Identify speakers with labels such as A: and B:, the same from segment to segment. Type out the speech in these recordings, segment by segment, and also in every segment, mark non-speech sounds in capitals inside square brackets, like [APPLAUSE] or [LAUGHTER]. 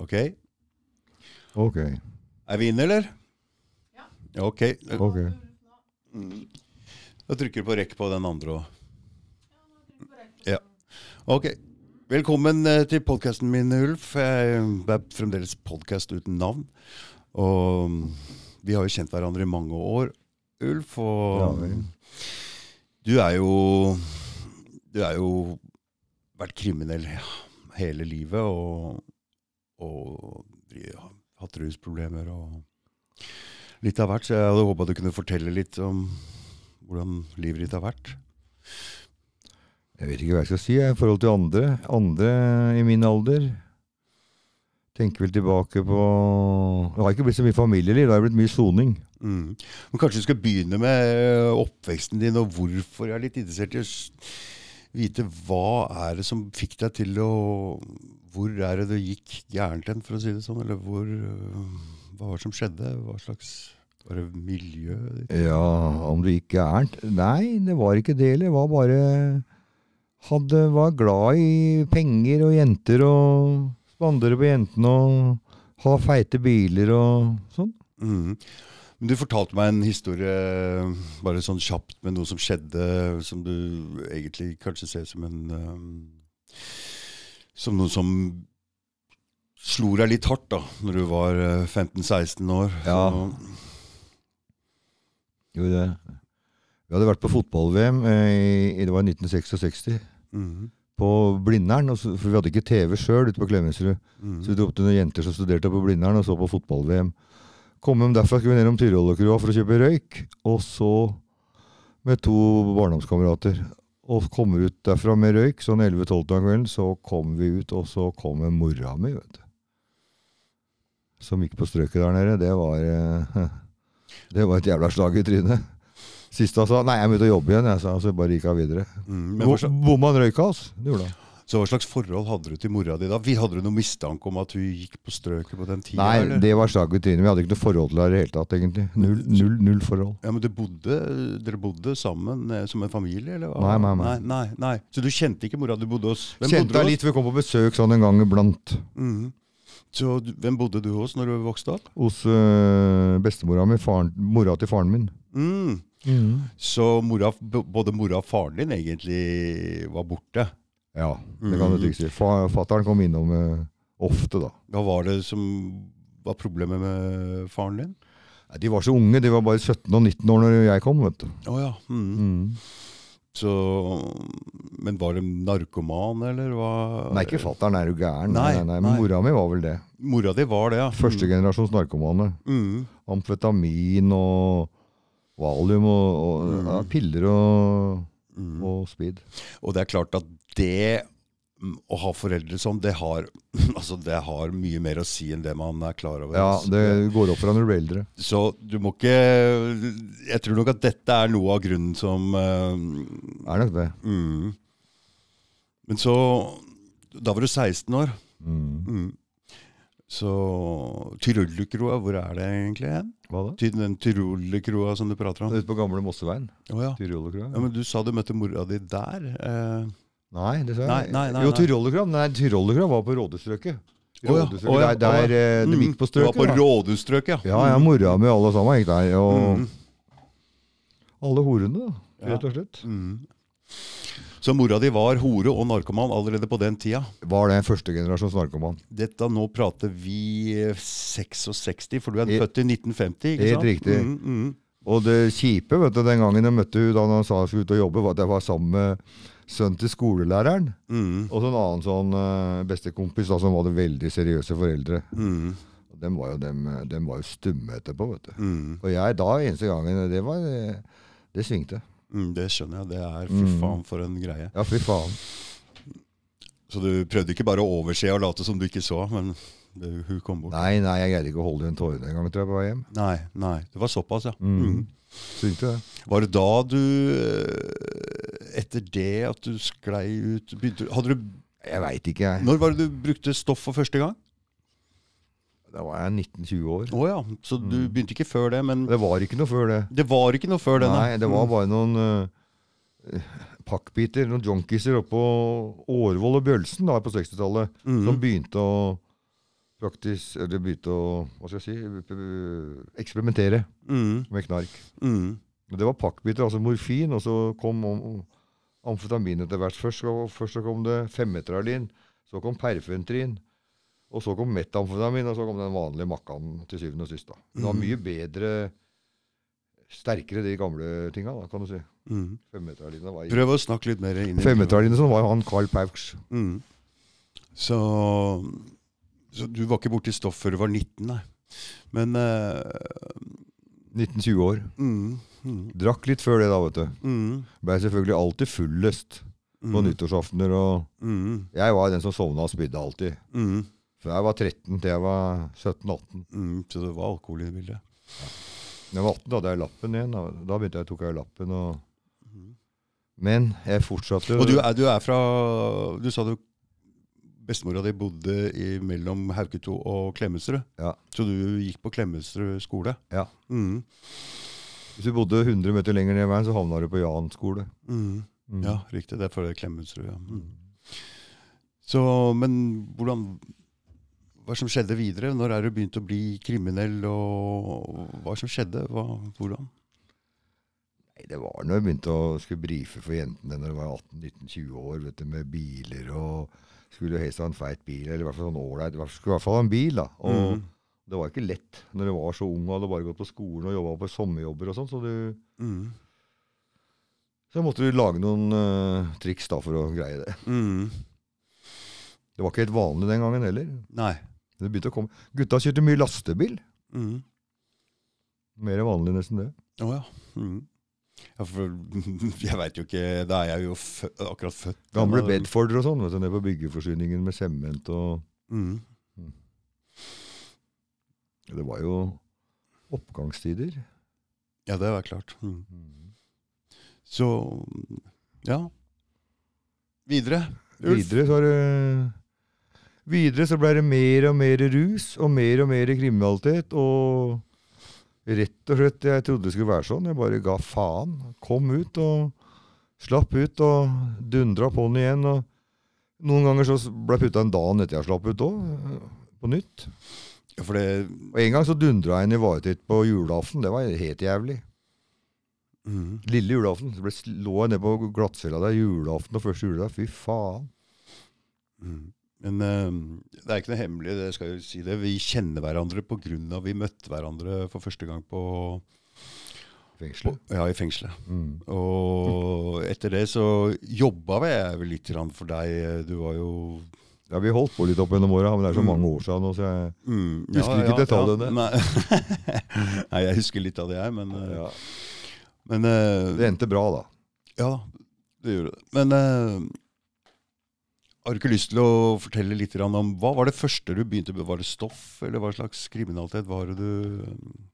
A: Ok.
B: Ok.
A: Er vi inne, eller? Ja. Ok.
B: ok.
A: Da trykker du på rekk på den andre òg. Ja. Ok. Velkommen eh, til podkasten min, Ulf. Eh, Det er fremdeles podkast uten navn. Og mm, vi har jo kjent hverandre i mange år, Ulf.
B: Ja,
A: Og
B: vel.
A: du er jo Du er jo vært kriminell hele livet og, og dri- hatt rusproblemer og litt av hvert. Så jeg hadde håpa du kunne fortelle litt om hvordan livet ditt har vært.
B: Jeg vet ikke hva jeg skal si jeg, i forhold til andre. Andre i min alder. Tenker vel tilbake på Det har ikke blitt så mye familieliv, det har blitt mye soning.
A: Mm. Men kanskje du skal begynne med ø, oppveksten din, og hvorfor jeg er litt interessert i å s- vite hva er det som fikk deg til å Hvor er det det gikk gærent hen, for å si det sånn? Eller hvor, ø, hva var det som skjedde? Hva slags Var det miljøet ditt?
B: Ja, om det gikk gærent? Nei, det var ikke det heller. Det Var bare hadde, Var glad i penger og jenter og spandere på jentene og ha feite biler og sånn.
A: Mm. Men du fortalte meg en historie ø, bare sånn kjapt med noe som skjedde, som du egentlig kanskje ser som en ø, Som noe som slo deg litt hardt da når du var ø, 15-16 år.
B: Ja.
A: Så-
B: Jo, det. Vi hadde vært på fotball-VM, eh, i- det var i 1966,
A: Mhm.
B: på Blindern. og så- For vi hadde ikke TV sjøl ute på Klemetsrud.
A: Mhm.
B: Så vi dro opp til noen jenter som studerte på Blindern og så på fotball-VM. Kom hjem derfra skulle vi ned om Tyrollekrua for å kjøpe røyk. Og så med to barndomskamerater. Og kommer ut derfra med røyk sånn 11-12 om kvelden. Så kom vi ut, og så kommer mora mi, vet du. Som gikk på strøket der nede. Det var, eh, [LAUGHS] det var et jævla slag i trynet. Siste han sa 'nei, jeg må ut og jobbe igjen', jeg sa, og så bare gikk han videre.
A: Mm, men hva, sla-
B: Bo- Bomma han røyka, altså. Det gjorde han.
A: så hva slags forhold hadde du til mora di da? Vi Hadde du noen mistanke om at hun gikk på strøket på den tida?
B: Nei,
A: eller?
B: det var slag i trynet. Vi hadde ikke noe forhold til det i det hele tatt, egentlig. Null, null, null forhold.
A: Ja, men du bodde, Dere bodde sammen eh, som en familie? eller? hva?
B: Nei, nei, nei.
A: nei, nei, nei. Så du kjente ikke mora du bodde hos? Hvem
B: Kjente
A: bodde
B: deg
A: du hos?
B: litt før vi kom på besøk sånn en gang iblant.
A: Mhm. Så du, Hvem bodde du hos når du vokste opp?
B: Hos øh, bestemora mi, faren, mora til faren min.
A: Mm. Så mora, b- både mora og faren din egentlig var borte?
B: Ja, det kan du
A: Mm.
B: trygt si. Fa, Fattern kom innom øh, ofte, da.
A: Hva var det som var problemet med faren din?
B: Nei, De var så unge, de var bare 17 og 19 år når jeg kom, vet du.
A: Å ja. mhm.
B: Mm.
A: Så, men var det narkoman, eller hva?
B: Nei, ikke fattern, er du gæren? Nei,
A: Nei,
B: nei, nei,
A: nei.
B: Men mora mi var vel det.
A: Mora di var det, ja.
B: Førstegenerasjons narkomane.
A: Mm.
B: Amfetamin og valium og, og ja, piller og,
A: Mm.
B: og speed.
A: Og det er klart at det mm, å ha foreldre sånn, det har, [LAUGHS] altså det har mye mer å si enn det man er klar over. Altså.
B: Ja, det går opp for deg når du blir eldre.
A: Så du må ikke Jeg tror nok at dette er noe av grunnen som eh,
B: Er nok det.
A: mm. Men så Da var du 16 år.
B: Mm.
A: Mm. Så Tyrollerkroa, hvor er det egentlig hen?
B: Hva da?
A: Ty- Den Tyrollerkroa som du prater om?
B: Ute på gamle Mosseveien.
A: Å ja.
B: Tyrollerkrav?
A: Ja, men du sa du møtte mora di der. Eh,
B: Nei, det sa
A: Nei,
B: jeg.
A: nei, nei,
B: jo,
A: nei.
B: Tyrollerkrav Nei, Tyrollerkrav var på Rådestrøket.
A: Å ja,
B: Rådestrøket,
A: å ja,
B: Der, der
A: å ja.
B: eh, de gikk på
A: Du var
B: strøket.
A: på
B: da.
A: rådhusstrøket,
B: Ja, ja, mora mi og alle sammen gikk der. Og alle horene, da.
A: Mm. Ja.
B: Rett og slett.
A: Mm. Så mora di var hore og narkoman allerede på den tida.
B: Var det en førstegenerasjons narkoman?
A: Dette Nå prater vi eh, 66, for du er
B: Helt-
A: født i 1950, ikke
B: helt
A: sant?
B: riktig.
A: Mm, mm.
B: Og det kjipe vet du, den gangen jeg møtte hun da han sa han skulle ut og jobbe, var at jeg var sammen med sønnen til skolelæreren
A: Mm,
B: og så en annen sånn eh, bestekompis da, som hadde veldig seriøse foreldre.
A: mm,
B: Og Dem var jo, dem, eh, dem var jo stumme etterpå, vet du.
A: mm,
B: Og jeg da eneste gangen Det var eh, Det svingte.
A: mm, det skjønner jeg. Det er fy
B: Mm.
A: faen for en greie.
B: Ja, fy faen.
A: Så du prøvde ikke bare å overse og late som du ikke så, men det, hun kom bort.
B: Nei, nei, jeg greide ikke å holde igjen tårene engang, tror jeg, på vei hjem.
A: Nei, nei. Det var såpass, ja.
B: Mm.
A: Mm.
B: Svingte, det.
A: Var det da du eh, Etter det at du sklei ut begynte, hadde du,
B: Jeg veit ikke, jeg.
A: Når var det du brukte stoff for første gang?
B: Da var jeg 19-20 år.
A: Å ja, så du
B: Mm.
A: begynte ikke før det, men
B: Det var ikke noe før det.
A: det Mm. var ikke noe før denne?
B: Nei, det var bare noen eh, pakkbiter, noen junkiser oppå Årvoll og Bjølsen da på 60-tallet,
A: Mhm.
B: som begynte å praktis, eller begynte å hva skal jeg si, p- eksperimentere
A: Mm,
B: med knark.
A: mm,
B: Og Det var pakkbiter, altså morfin, og så kom om- amfetamin etter hvert. Først, så- først så kom det femmetralin, så kom perfentrin, og så kom metamfetamin, og så kom den vanlige makkaen til syvende og sist. da. Det var
A: Mhm.
B: mye bedre, sterkere de gamle tinga, da, kan du si.
A: mm.
B: Femmetralina var i
A: Prøv å snakke litt mer inn i
B: Femmetralinen var jo han Carl Pauksch.
A: Mm. Så, så du var ikke borti stoff før du var 19, nei. Men eh,
B: 19-20 år.
A: mm, mm,
B: Drakk litt før det, da, vet du.
A: mm,
B: Blei selvfølgelig alltid fullest
A: mm,
B: på nyttårsaftener. og
A: Mm,
B: Jeg var den som sovna og spydde alltid.
A: mm,
B: Fra jeg var 13 til jeg var 17-18.
A: mm, så det var alkohol i bildet.
B: Da jeg var 18 da hadde jeg lappen igjen. Da, da begynte jeg, tok jeg lappen. Og...
A: Mhm.
B: Men jeg fortsatte.
A: Og du er, du er fra Du sa du bestemora di bodde i, mellom Hauketo og Klemetsrud.
B: Ja.
A: Så du gikk på Klemetsrud skole?
B: Ja.
A: Mm,
B: Hvis du bodde 100 meter lenger ned i veien, så havna du på Jan skole.
A: mm,
B: Mm.
A: ja, riktig. Det er for Klemetsrud, ja. Mm.
B: Mm.
A: Så, men hvordan Hva som skjedde videre? Når er du begynt å bli kriminell, og hva som skjedde? Hva, hvordan?
B: Nei, det var når jeg begynte å skulle brife for jentene når jeg var 18-19-20 år, vet du, med biler og skulle helst ha en feit bil, eller i hvert fall sånn ålreit. i hvert fall- Skulle i hvert fall ha en bil, da. Og
A: Mm.
B: det var ikke lett når jeg var så ung og hadde bare gått på skolen og jobba på sommerjobber og sånn, så, du-
A: Mm.
B: så jeg måtte jo lage noen eh, triks da for å greie det.
A: Mm. Mm.
B: Det var ikke helt vanlig den gangen heller.
A: Nei.
B: Det begynte å komme. Gutta kjørte mye lastebil.
A: Mm.
B: Mer vanlig nesten det.
A: Å ja. Mm. ja for, [LAUGHS] jeg veit jo ikke Da er jeg jo fø akkurat født.
B: Gamle
A: Men,
B: Bedforder og sånn, vet du, nede på byggeforsyningen med sement og
A: Mm.
B: Det var jo oppgangstider.
A: Ja, det er klart. Mm. Så Ja. Videre. Ulf.
B: Videre så, er det, videre så ble det mer og mer rus og mer og mer kriminalitet. Og rett og slett, jeg trodde det skulle være sånn. Jeg bare ga faen. Kom ut og slapp ut og dundra på'n igjen. Og noen ganger så ble jeg putta en dag etter jeg slapp ut òg, på nytt.
A: Ja, for det
B: Og en gang så dundra jeg inn i varetekt på julaften. Det var helt jævlig.
A: mm.
B: Lille julaften. Så ble, lå jeg nede på glattcella der julaften og første juledag. Fy faen.
A: Mm. Men eh, det er ikke noe hemmelig, det skal jeg jo si det. Vi kjenner hverandre pga. vi møtte hverandre for første gang på, på,
B: Fengselet.
A: ja, i fengselet.
B: Mm.
A: Og etter det så jobba vel jeg vel litt grann for deg. Du var jo
B: Ja, Vi holdt på litt opp gjennom åra, men det er så
A: Mm.
B: mange år siden nå, så jeg
A: mm,
B: Husker ikke detaljene.
A: Nei. [LAUGHS] nei, jeg husker litt av det, jeg. Men, eh, men eh,
B: Det endte bra, da.
A: Ja, det gjorde det. Men eh, har du ikke lyst til å fortelle litt grann om hva var det første du begynte med? Var det stoff, eller hva slags kriminalitet var det du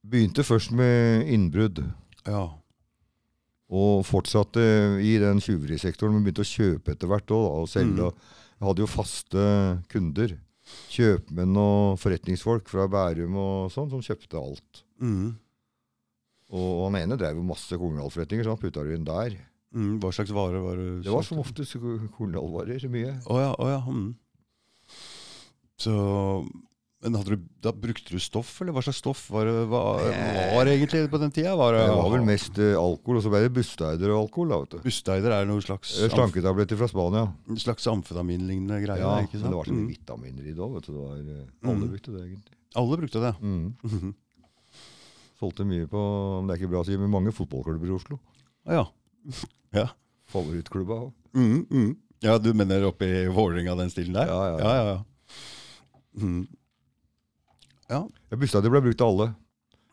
B: Begynte først med innbrudd,
A: Ja.
B: og fortsatte eh, i den tjuverisektoren. Men begynte å kjøpe etter hvert òg, og
A: Mm.
B: selge. og Jeg hadde jo faste kunder. Kjøpmenn og forretningsfolk fra Bærum og sånn, som kjøpte alt.
A: Mm.
B: Og han ene drev jo masse kornalforretninger, så han putta det inn der.
A: Mm, hva slags varer var det?
B: Det var som oftest kornalvarer. Mye.
A: Å ja, å ja. Mm. Så men hadde du, da brukte du stoff, eller hva slags stoff var det hva,
B: Nei.
A: var det egentlig på den tida? Var det,
B: Det var vel mest eh, alkohol, og så ble det busteider og alkohol. da, vet du.
A: Busteider er noe slags,
B: Eh, Slanketabletter fra Spania.
A: amf slags amfetaminlignende greier.
B: Ja,
A: ikke
B: men
A: sant?
B: det var sånn så mye
A: mm.
B: vitaminer i det òg, vet du. Det var, eh, alle
A: Mm.
B: brukte det, egentlig.
A: Alle brukte det.
B: Mm.
A: Mhm.
B: Solgte mye på om det er ikke bra å si, men mange fotballklubber i Oslo.
A: Å ja.
B: Favorittklubba òg.
A: Mm, mm. Ja, du mener oppe i Vålerenga, den stilen der?
B: Ja, ja.
A: ja. ja, ja. Mm. ja.
B: Ja, Busteider ble brukt av alle.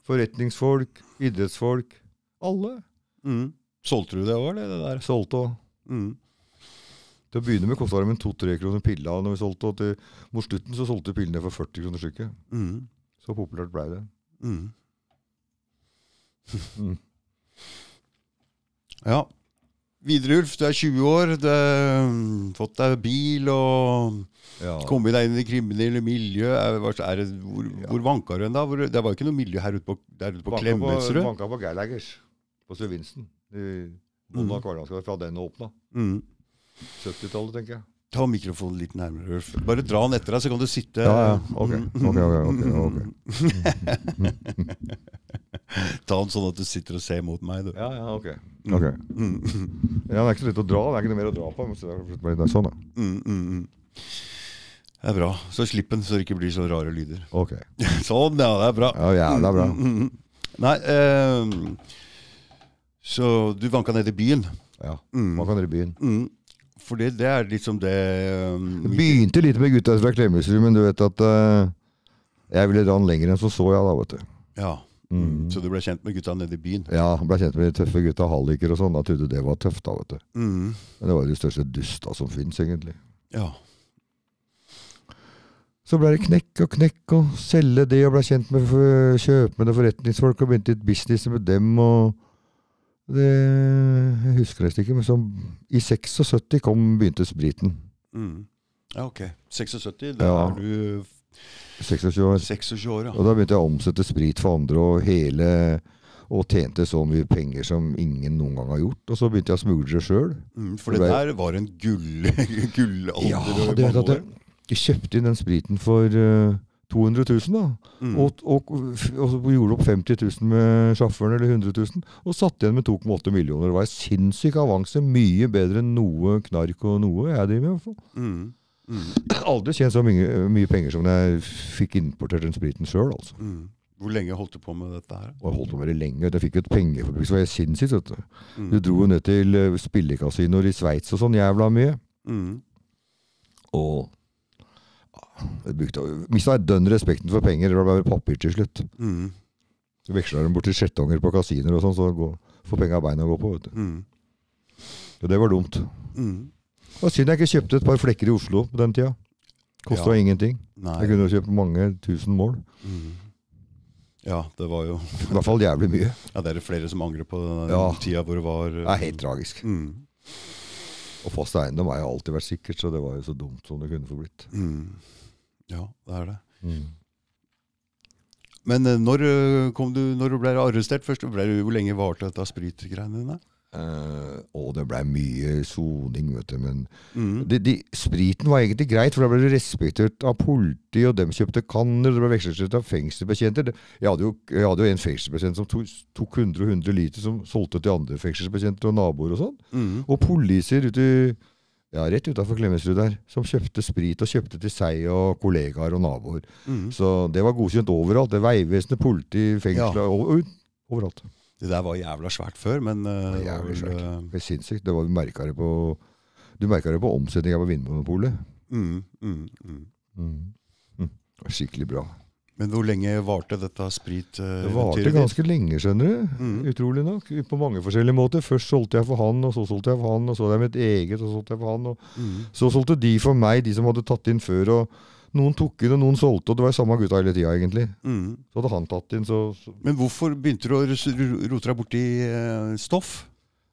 B: Forretningsfolk, idrettsfolk. Alle.
A: Mm. Solgte du det òg, eller det der?
B: Solgte òg.
A: Mm.
B: Til å begynne med kosta det med to-tre kroner pilla når vi solgte, og til, mot slutten så solgte vi pillene for 40 kroner stykket.
A: Mm.
B: Så populært blei det.
A: Mm.
B: [LAUGHS] Mm.
A: Ja. Videre, Ulf, du er 20 år, du har mm, fått deg bil og
B: Ja.
A: kommet deg inn i det kriminelle miljøet. Er, hva- er det, hvor,
B: Ja.
A: hvor vanka du hen da? Hvor, det var jo ikke noe miljø her ute på, der ute på
B: Banka
A: Klemetsrud.
B: Banka på Gerlagers på Sir Vincent. i Bonden av Karlandsgata fra den åpna.
A: Mm.
B: 70-tallet, tenker jeg.
A: Ta mikrofonen litt nærmere, Ulf. Bare dra den etter deg, så kan du sitte Mm.
B: Ja, ja. Ok, ok, ok. ok, ok.
A: Ta den sånn at du sitter og ser mot meg, du. Mm.
B: Ja, ja, ok. Ok. Ja, det er ikke så lett å dra. Det er ikke noe mer å dra på. Men så det er bare litt sånn, da.
A: Mm, mm, mm. Det er bra. Så slipp den, så det ikke blir så rare lyder.
B: Ok.
A: Sånn, ja. Det er bra.
B: Ja, jævla bra.
A: Mm, mm. Nei ehm, Så du vanka ned i byen.
B: Ja, Man kan dere begynne.
A: Mm. For det, det er liksom det ehm,
B: Det begynte litt med gutta fra Klemetsrud, men du vet at eh, jeg ville dra den lenger enn som så, jeg, da, vet du.
A: Ja. Mm.
B: Mm.
A: Så du ble kjent med gutta nede i byen?
B: Ja, Ble kjent med de tøffe gutta, halliker og sånn. Da trodde det var tøft, da, vet du.
A: Mm.
B: Men det var jo de største dusta som fins, egentlig.
A: Ja.
B: Så ble det knekk og knekk og selge det, og ble kjent med for- kjøpmenn og forretningsfolk, og begynte litt business med dem, og det Jeg husker nesten ikke, men så i 76 kom, begynte spriten.
A: Mm. Ja, ok. 76, da
B: Ja.
A: er du
B: 26 år.
A: 26 år, ja.
B: Og da begynte jeg å omsette sprit for andre, og hele og tjente så mye penger som ingen noen gang har gjort. Og så begynte jeg å smugle sjøl.
A: Mm, for det der var en gull, [LAUGHS] gullalder.
B: Ja,
A: og
B: du vet
A: mange
B: at jeg,
A: år.
B: jeg kjøpte inn den spriten for eh, 200 000, da.
A: Mm.
B: og, og, og så gjorde opp 50 000 med sjåføren, eller 100 000, og satt igjen med 2,8 millioner. Det var en sinnssyk avanse, mye bedre enn noe knark og noe jeg driver med. i hvert fall.
A: Mm. Mm.
B: Aldri tjent så mye, mye penger som da jeg fikk importert den spriten sjøl, altså.
A: Mm. Hvor lenge holdt du på med dette her?
B: Og jeg holdt på med det lenge. Jeg fikk jo et pengeforbruk som var helt sinnssykt. vet Du Du
A: Mm.
B: dro jo ned til eh, spillekasinoer i Sveits og sånn jævla mye.
A: Mm.
B: Og mista dønn respekten for penger. Det ble bare papir til slutt.
A: Mm.
B: Så veksla de bort til skjetonger på kasinoer og sånn, så går- får penga beina å gå på. vet du.
A: Mm.
B: Og det var dumt.
A: Mm.
B: Og synd jeg ikke kjøpte et par flekker i Oslo på den tida. Kosta
A: Ja.
B: ingenting. Jeg
A: Nei.
B: kunne jo kjøpt mange tusen mål.
A: Mm. Ja, det var jo
B: I hvert fall jævlig
A: [LAUGHS]
B: mye.
A: Ja, det er det flere som angrer på den
B: Ja.
A: tida hvor det var
B: Det er helt tragisk.
A: mm.
B: Og fast eiendom har jo alltid vært sikkert, så det var jo så dumt som det kunne få blitt.
A: Mm. Ja, det er det. Men eh, når, eh, kom du, når du ble arrestert først, ble du, hvor lenge varte dette spritgreiene dine?
B: Eh, og det blei mye soning, vet du. Men
A: Mm.
B: de, de, spriten var egentlig greit, for da ble du respektert av politi, og dem kjøpte kanner, og det ble vekslet av fengselsbetjenter. Det- Jeg hadde jo, jeg hadde jo en fengselsbetjent som tok, tok 100 og 100 liter, som solgte til andre fengselsbetjenter og naboer og sånn.
A: Mm.
B: Og polisier ute ja, rett utafor Klemetsrud der, som kjøpte sprit og kjøpte til seg og kollegaer og naboer.
A: Mm.
B: Så det var godkjent overalt. Det Vegvesenet, politi, fengsler
A: Ja.
B: over, ut- overalt.
A: Det der var jævla svært før, men eh,
B: Det var jævlig
A: vel,
B: Det var sinnssykt. Det var, du merka det på du merket det på omsetninga på Vinmonopolet.
A: eh, mm, mm, mm.
B: Mm. Det var Skikkelig bra.
A: Men hvor lenge varte dette sprit? eh,
B: Det varte
A: eventyret ditt?
B: ganske lenge, skjønner du.
A: Mm.
B: Utrolig nok. På mange forskjellige måter. Først solgte jeg for han, og så solgte jeg for han, og så hadde jeg mitt eget, og så solgte jeg for han. og
A: Mm.
B: Så solgte de for meg, de som hadde tatt inn før. og Noen tok inn, og noen solgte, og det var jo samme gutta hele tida, egentlig.
A: Mm.
B: Så hadde han tatt inn, så, så
A: Men hvorfor begynte du å rus- ru- rote deg borti eh, stoff?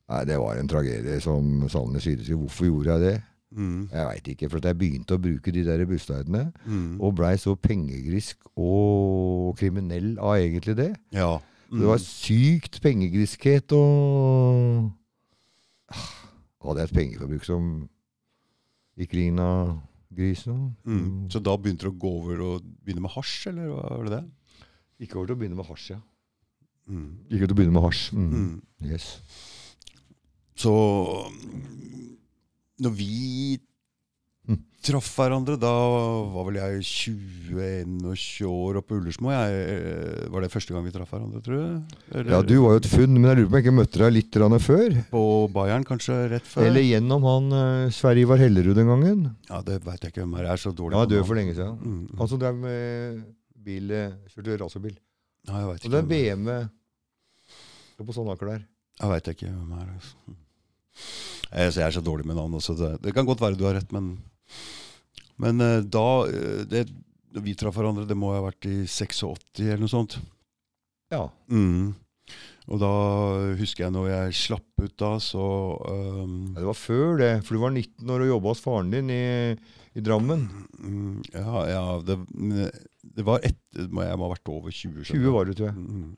B: Nei, det var en tragedie som Salnes sier. Så Hvorfor gjorde jeg det?
A: Mm.
B: Jeg veit ikke. For at jeg begynte å bruke de der bussleidene,
A: Mm.
B: og blei så pengegrisk og kriminell av egentlig det.
A: Ja.
B: Det var sykt pengegriskhet og Ah, Hadde jeg et pengeforbruk som ikke ligna grisen?
A: Mm. Så da begynte du å gå over og begynne med hasj, eller hva var det det?
B: Ikke over til å begynne med hasj, ja.
A: Mm.
B: Ikke til å begynne med hasj. Mm.
A: Mm.
B: Yes.
A: Så mm, når vi
B: Mm.
A: traff hverandre, da var vel jeg 20-21 år oppe på Ullersmo. Jeg, eh, var det første gang vi traff hverandre, tror du? Eller
B: Ja, du var jo et funn, men jeg lurer på om jeg ikke møtte deg litt grann før?
A: på Bayern, kanskje? Rett før?
B: Eller gjennom han eh, Sverre Ivar Hellerud den gangen?
A: Ja, det veit jeg ikke hvem er. Jeg er så dårlig
B: Han var
A: på
B: død
A: navn.
B: for lenge siden.
A: Mm.
B: Han som drev med bil eh, Kjørte racerbil.
A: Nei, jeg veit
B: Og det
A: ikke.
B: er
A: hvem-
B: VM det er på Sandaker der.
A: Jeg vet ikke hvem er. Altså. Jeg, jeg er så dårlig med navn. Også. Det, det kan godt være du har rett, men Men eh, da eh, det, når vi traff hverandre, det må ha vært i 86 eller noe sånt.
B: Ja.
A: Mm. Og da husker jeg når jeg slapp ut da, så ehm,
B: Ja, Det var før det, for du var 19 år og jobba hos faren din i, i Drammen.
A: mm, Ja, ja det, det var etter Jeg må ha vært over 20. skjønner
B: 20 var du, tror jeg.
A: Mm.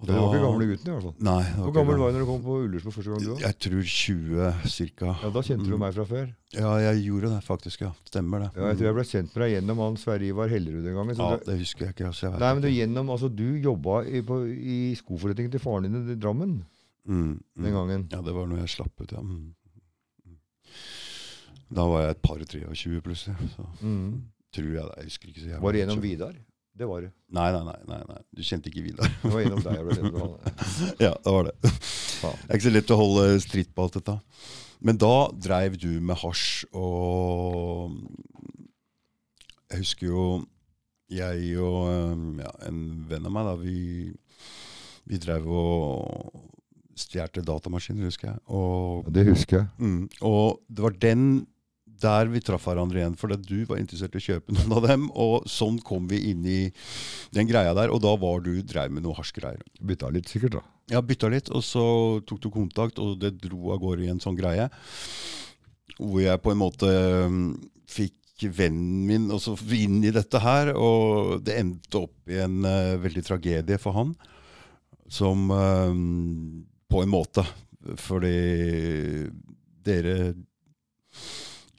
A: Og
B: Det var ikke gamle gutten, i hvert fall.
A: Nei. det var
B: Hvor
A: ikke
B: gammel
A: gamle.
B: var du når du kom på Ullersmo første gang? du var?
A: Jeg tror 20 ca.
B: Ja, Da kjente du
A: Mm.
B: meg fra før.
A: Ja, jeg gjorde det faktisk. ja. Stemmer det.
B: Ja, jeg tror jeg ble kjent med deg gjennom han Sverre Ivar Hellerud den gangen.
A: ja,
B: Så du,
A: det husker jeg ikke. altså. Jeg vet
B: nei, men du,
A: ikke.
B: gjennom, altså, du jobba i, på, i skoforretningen til faren din i Drammen
A: Mm,
B: den
A: mm.
B: gangen.
A: Ja, det var når jeg slapp ut, ja. Mm. Da var jeg et par 23 plutselig. Så
B: Mm.
A: tror jeg det. Jeg husker ikke så jævlig.
B: Var det gjennom
A: godt.
B: Vidar? Det var det.
A: Nei, nei, nei. nei, nei. Du kjente ikke Vidar.
B: Det var gjennom deg jeg ble kjent med han.
A: [LAUGHS] ja, det var det. Det
B: Faen.
A: er ikke så lett å holde stritt på alt dette. Men da dreiv du med hasj og Jeg husker jo jeg og øhm, ja, en venn av meg, da, vi, vi dreiv og stjal datamaskiner, husker jeg. Og
B: Det husker jeg.
A: Mm. Og det var den der vi traff hverandre igjen, fordi du var interessert i å kjøpe [LAUGHS] noen av dem. Og sånn kom vi inn i den greia der, og da var du dreiv med noe hasjgreier.
B: Bytta litt sikkert, da.
A: Ja, bytta litt, og så tok du kontakt, og det dro av gårde i en sånn greie. Hvor jeg på en måte mm, fikk vennen min også inn i dette her, og det endte opp i en eh, veldig tragedie for han. Som eh, På en måte. Fordi dere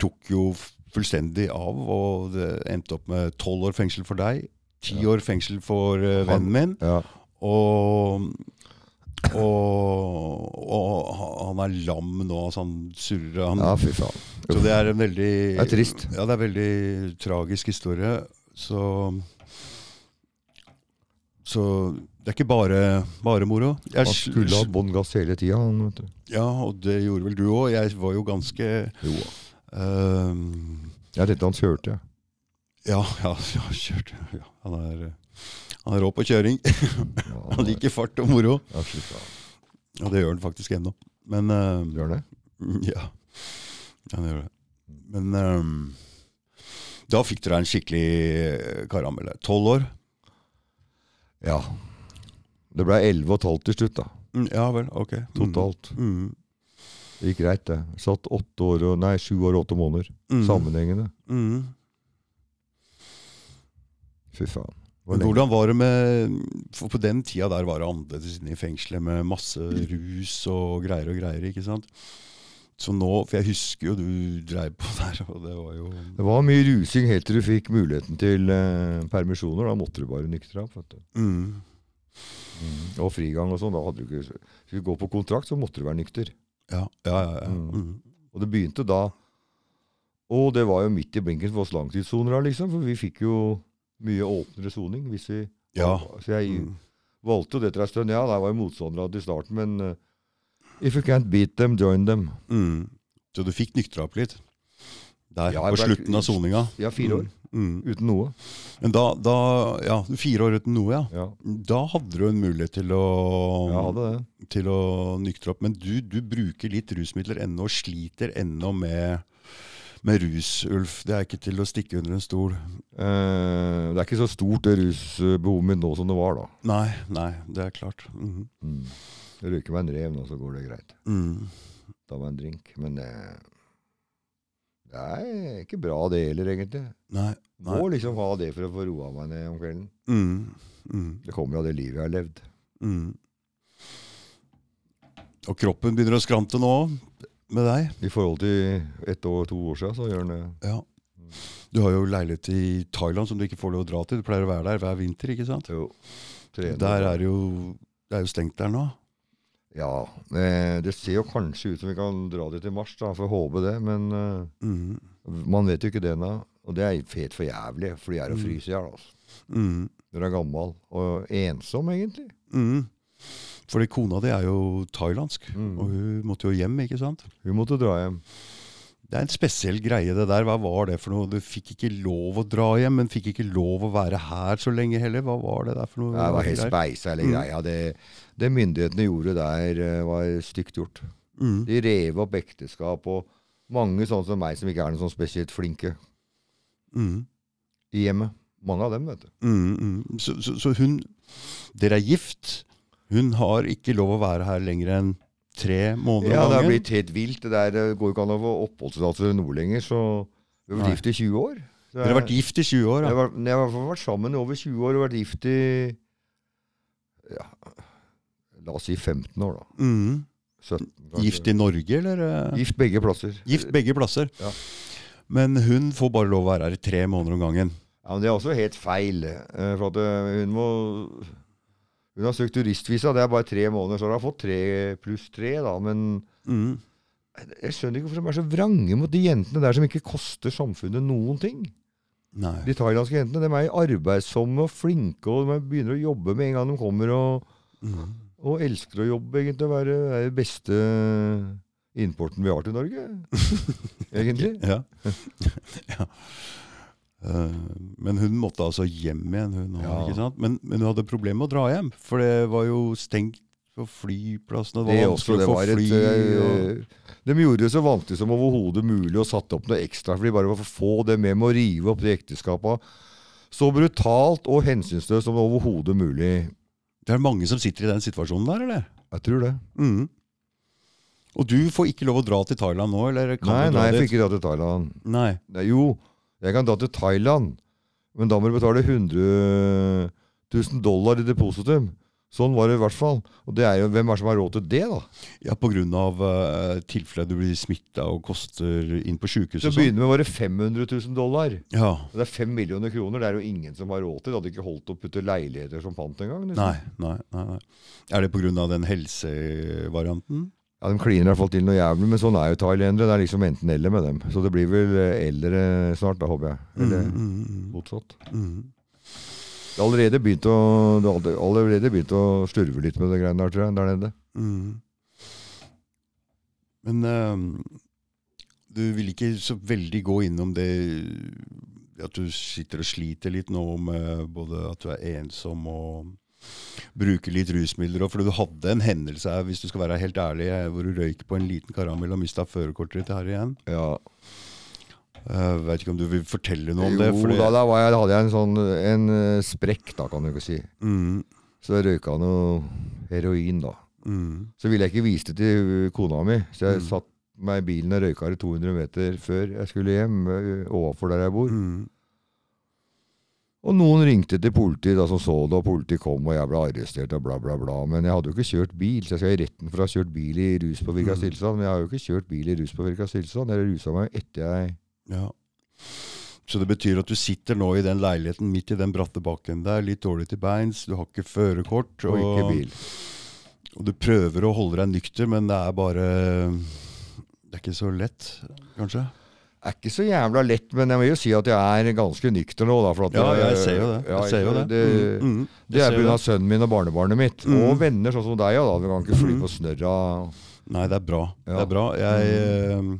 A: tok jo fullstendig av, og det endte opp med tolv år fengsel for deg. Ti
B: Ja.
A: år fengsel for eh,
B: Han-
A: vennen min.
B: Ja.
A: Og, og, og han er lam nå, altså han surrer. Han,
B: ja, fy faen.
A: Så det er en veldig
B: Det er trist.
A: Ja, det er en veldig tragisk historie. Så Så det er ikke bare, bare moro. Jeg
B: Han
A: sl-
B: skulle ha bånn gass hele tida, han, vet du.
A: Ja, og det gjorde vel du òg. Jeg var jo ganske
B: Jo.
A: eh,
B: Jeg tenkte han kjørte, jeg.
A: [LAUGHS] Ja, ja, [LAUGHS] ja kjørt. Ja, han er han er rå på kjøring. [LAUGHS]
B: Ja,
A: Han liker fart og moro.
B: Ja, fy faen.
A: Ja, det gjør han faktisk ennå. Men eh,
B: Gjør han det?
A: Mm, Ja, ja det gjør det. Men ehm, da fikk dere en skikkelig eh, karamell. Tolv år?
B: Ja. Det ble 11,5 til slutt, da.
A: Mm, ja vel, ok. Mm.
B: Totalt.
A: Mm.
B: Det gikk greit, det. Satt åtte år og Nei, sju år og åtte måneder.
A: Mm.
B: Sammenhengende.
A: Mm.
B: Fy faen. Det var
A: Men
B: lenge.
A: hvordan var det med For på den tida der var det annerledes inne i fengselet med masse rus og greier og greier, ikke sant? Så nå For jeg husker jo du dreiv på [LAUGHS] der, og det var jo
B: Det var mye rusing helt til du fikk muligheten til eh, permisjoner. Da måtte du bare nyktre opp. Vet du.
A: mm.
B: Og frigang og sånn. Da hadde du ikke Skulle du gå på kontrakt, så måtte du være nykter.
A: Ja, ja, ja. ja.
B: Mm.
A: Mm.
B: Og det begynte da Og det var jo midt i blinken for oss langtidssoner, da, liksom. For vi fikk jo mye åpnere soning. Hvis vi,
A: Ja.
B: Så jeg
A: Mm.
B: valgte jo det etter en stund. Ja, der var jo motstandere av det i starten, men eh, If you can't beat them, join them.
A: Mm. Så du fikk nyktra opp litt? Der,
B: Ja,
A: på
B: jeg ble-
A: slutten av soninga?
B: Ja, fire år.
A: Mm.
B: Uten noe.
A: Men da, da Ja, fire år uten noe, ja.
B: Ja,
A: Da hadde du en mulighet til å,
B: jeg
A: Mm.
B: hadde det.
A: til å nyktre opp. Men du, du bruker litt rusmidler ennå, og sliter ennå med, med rus, Ulf. Det er ikke til å stikke under en stol.
B: Eh, det er ikke så stort det rusbehovet mitt nå som det var da.
A: Nei, nei, det er klart. Mhm.
B: Mm. Jeg røyker meg en rev nå, så går det greit.
A: Mm.
B: Ta meg en drink. Men eh, det er ikke bra det heller, egentlig.
A: Nei. nei.
B: Må liksom ha det for å få roa meg ned om kvelden.
A: Mm. Mm.
B: Det kommer av det livet jeg har levd.
A: Mm. Og kroppen begynner å skrante nå òg, med deg.
B: I forhold til ett år, to år siden, så gjør den det.
A: Ja. Du har jo leilighet i Thailand som du ikke får lov å dra til. Du pleier å være der hver vinter, ikke sant?
B: Jo. Trener.
A: Der er det jo, det er jo stengt der nå.
B: Ja. Eh, det ser jo kanskje ut som vi kan dra dit i mars, da, for å håpe det, men eh,
A: Mm.
B: man vet jo ikke det ennå. Og det er fet for jævlig, for de er å
A: Mm.
B: fryse i hjel. Altså.
A: Mm.
B: Når du er gammel og ensom, egentlig.
A: Mm. Fordi kona di er jo thailandsk,
B: Mm.
A: og hun måtte jo hjem, ikke sant?
B: Hun måtte dra hjem.
A: Det er en spesiell greie det der. Hva var det for noe? Du fikk ikke lov å dra hjem, men fikk ikke lov å være her så lenge heller. Hva var det der for noe?
B: Det var helt
A: greier?
B: speisa hele
A: Mm.
B: greia. Det, det myndighetene gjorde der, eh, var stygt gjort.
A: Mm.
B: De rev opp ekteskap, og mange sånne som meg som ikke er noe sånn spesielt flinke
A: Mm.
B: i hjemmet. Mange av dem, vet du.
A: Mm, mm. Så, så, så hun Dere er gift. Hun har ikke lov å være her lenger enn tre måneder
B: Ja,
A: om
B: det har
A: gangen.
B: blitt helt vilt. Det der eh, går jo ikke an å få oppholdstillatelse nå lenger, så vi har
A: Nei.
B: vært gift i 20 år. Så
A: Dere har vært gift i 20 år.
B: Jeg
A: Da.
B: har vært- jeg har i hvert fall vært sammen i over 20 år og vært gift i ja, la oss si 15 år, da.
A: Mm.
B: 17, kanskje.
A: Gift i Norge, eller? eh?
B: Gift begge plasser.
A: Gift begge plasser.
B: Ja.
A: Men hun får bare lov å være her i tre måneder om gangen.
B: Ja, men Det er også helt feil. eh, For at eh, hun må Hun har søkt turistvisa, det er bare tre måneder, så hun har fått tre pluss tre, da. Men
A: Mm.
B: jeg skjønner ikke hvorfor de er så vrange mot de jentene der som ikke koster samfunnet noen ting.
A: Nei.
B: De thailandske jentene de er arbeidsomme og flinke, og de begynner å jobbe med en gang de kommer, og,
A: Mm.
B: og elsker å jobbe, egentlig. og være- er den beste importen vi har til
A: [LAUGHS]
B: Norge, egentlig.
A: Ja. [LAUGHS] ja. Eh, Men hun måtte altså hjem igjen, hun òg.
B: Ja.
A: ikke sant? Men, men hun hadde problemer med å dra hjem, for det var jo stengt på flyplassen. og Det
B: Det
A: var
B: også,
A: vanskelig
B: det
A: å få
B: var et,
A: fly. og...
B: eh, de gjorde det så vanskelig som overhodet mulig og satte opp noe ekstra for de bare for å få det med med å rive opp de ekteskapene. Så brutalt og hensynsløst som det overhodet mulig.
A: Det er mange som sitter i den situasjonen der, eller?
B: Jeg tror det.
A: Mm. Og du får ikke lov å dra til Thailand nå, eller kan
B: Nei,
A: du dra
B: nei, jeg
A: dit?
B: fikk ikke dra til Thailand.
A: Nei.
B: Nei, jo, jeg kan dra til Thailand, men da må du betale 100 000 dollar i depositum. Sånn var det i hvert fall. Og det er jo, hvem er det som har råd til det, da?
A: Ja, på grunn av uh, tilfellet du blir smitta og koster inn på sjukehuset.
B: Til å
A: og sånn.
B: begynne med var det 500 000 dollar.
A: Ja.
B: Og Det er 5 millioner kroner, det er jo ingen som har råd til. Det hadde ikke holdt å putte leiligheter som fant engang. liksom.
A: Nei, nei, nei, nei. Er det på grunn av den helsevarianten?
B: Ja, de kliner i hvert fall til noe jævlig, men sånn er jo thailendere. Det er liksom enten eller med dem. Så det blir vel eh, eller eh, snart, da, håper jeg. Eller
A: Mm, mm,
B: motsatt.
A: mm, mm.
B: Det har allerede begynt å, det har allerede- allerede begynt å slurve litt med det greiene der, tror jeg, der nede.
A: Mm. Men eh, du vil ikke så veldig gå innom det eh, at du sitter og sliter litt nå med både at du er ensom og bruker litt rusmidler. og- For du hadde en hendelse her, hvis du skal være helt ærlig, eh, hvor du røyk på en liten karamell og mista førerkortet ditt her igjen.
B: Ja.
A: Uh, Veit ikke om du vil fortelle noe om
B: jo,
A: det? fordi-
B: da, da var jeg, hadde jeg en sånn en eh, sprekk, da, kan du ikke si.
A: Mm,
B: Så jeg røyka noe heroin, da.
A: mm,
B: Så ville jeg ikke vise det til ø, kona mi, så jeg
A: Mm.
B: satt meg i bilen og røyka det 200 meter før jeg skulle hjem, ø, overfor der jeg bor.
A: mm,
B: Og noen ringte til politiet da som så det, og politiet kom, og jeg ble arrestert og bla, bla, bla. Men jeg hadde jo ikke kjørt bil, så jeg skal i retten for å ha kjørt bil i ruspåvirka
A: Mm.
B: tilstand. Men jeg har jo ikke kjørt bil i ruspåvirka tilstand. Jeg rusa meg etter jeg
A: ja. Så det betyr at du sitter nå i den leiligheten midt i den bratte bakken der, litt dårlig til beins, du har ikke førerkort.
B: og ikke bil.
A: Og du prøver å holde deg nykter, men det er bare Det er ikke så lett, kanskje?
B: er ikke så jævla lett, men jeg må jo si at jeg er ganske nykter nå, da. For at
A: Ja, jeg
B: ø,
A: ser jo det.
B: ja,
A: Jeg ser jo det.
B: det-
A: Mm, mm.
B: Det
A: Jeg
B: er
A: ser
B: pga. sønnen min og barnebarnet mitt.
A: Mm.
B: Og venner sånn som deg. Ja, da. Du kan ikke fly
A: Mm.
B: på snørra.
A: Nei, det er bra.
B: Ja. Mm.
A: Det er bra. Jeg, eh,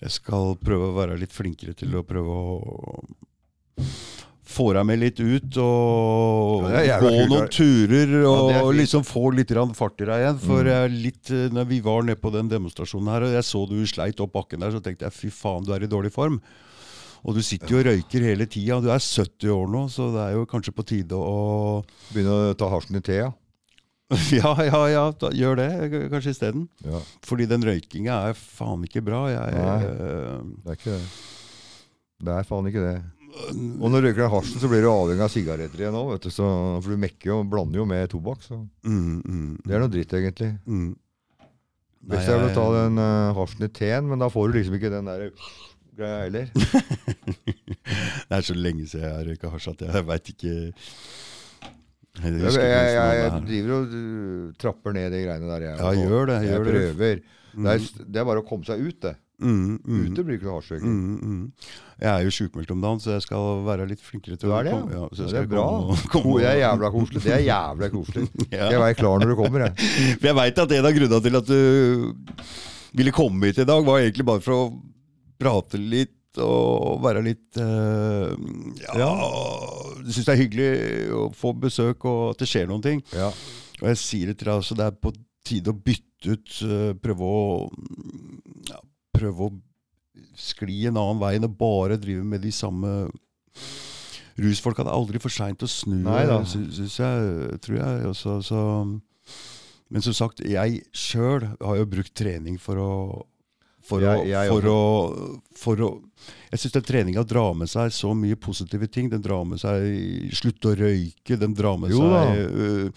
A: jeg skal prøve å være litt flinkere til å prøve å få deg med litt ut og
B: Ja, det er jævla
A: gå
B: kult,
A: noen
B: det.
A: turer og
B: Ja, det er fint.
A: liksom få litt grann fart i deg igjen. For
B: Mm.
A: jeg er litt, eh, når vi var nede på den demonstrasjonen her, og jeg så du sleit opp bakken der, så tenkte jeg fy faen, du er i dårlig form. Og du sitter jo og røyker hele tida. Du er 70 år nå, så det er jo kanskje på tide å [LAUGHS]
B: Begynne å ta hasjen i tea.
A: Ja, ja, ja, da, gjør det k- kanskje isteden.
B: Ja,
A: Fordi den røykinga er faen ikke bra. Jeg,
B: Nei.
A: eh,
B: det er ikke det. Det er faen ikke det.
A: mm,
B: Og når du røyker den hasjen, så blir du avhengig av sigaretter igjen òg, vet du. Så, for du mekker jo og blander jo med tobakk, så
A: mm, mm,
B: det er noe dritt, egentlig.
A: mm. Nei,
B: Hvis jeg vil ta
A: jeg-
B: den uh, hasjen i teen, men da får du liksom ikke den der greia heller.
A: Det er så lenge siden jeg har røyka hasj at jeg veit ikke Jeg
B: Jeg,
A: husker
B: jeg, jeg,
A: ikke hvordan det er.
B: driver og uh, trapper ned de greiene der, jeg.
A: Ja, gjør det.
B: jeg
A: Gjør det.
B: prøver.
A: Mm,
B: Det, er, det er bare å komme seg ut, det.
A: mm, mm,
B: Ute blir det ikke noe hasjrøyking.
A: mm, mm. Jeg er jo sjukmeldt om dagen, så jeg skal være litt flinkere til
B: Du
A: å
B: er det, ja?
A: komme. Ja, så
B: Ja,
A: jeg
B: det
A: skal
B: er bra.
A: komme og- [LAUGHS]
B: Ko-
A: komme
B: Det er
A: og-
B: jævla koselig. Det er jævla koselig.
A: [LAUGHS] Ja.
B: Jeg være klar når du kommer.
A: [LAUGHS]
B: Jeg.
A: For jeg veit at en av grunnene til at du ville komme hit i dag, var egentlig bare for å prate litt. Og være litt eh, Ja, du syns det er hyggelig å få besøk, og at det skjer noen ting.
B: Ja.
A: Og jeg sier det til deg, altså, det er på tide å bytte ut, eh, prøve å ja, prøve å skli en annen vei enn å bare drive med de samme rusfolka. Det er aldri for seint å snu,
B: Nei da.
A: sy- syns jeg, tror jeg. Også, så, men som sagt, jeg sjøl har jo brukt trening for å for,
B: Jeg-
A: å,
B: jeg
A: for, å, for å Jeg syns den treninga drar med seg så mye positive ting. Den drar med seg slutt å røyke, den drar med
B: Jo da.
A: seg øh,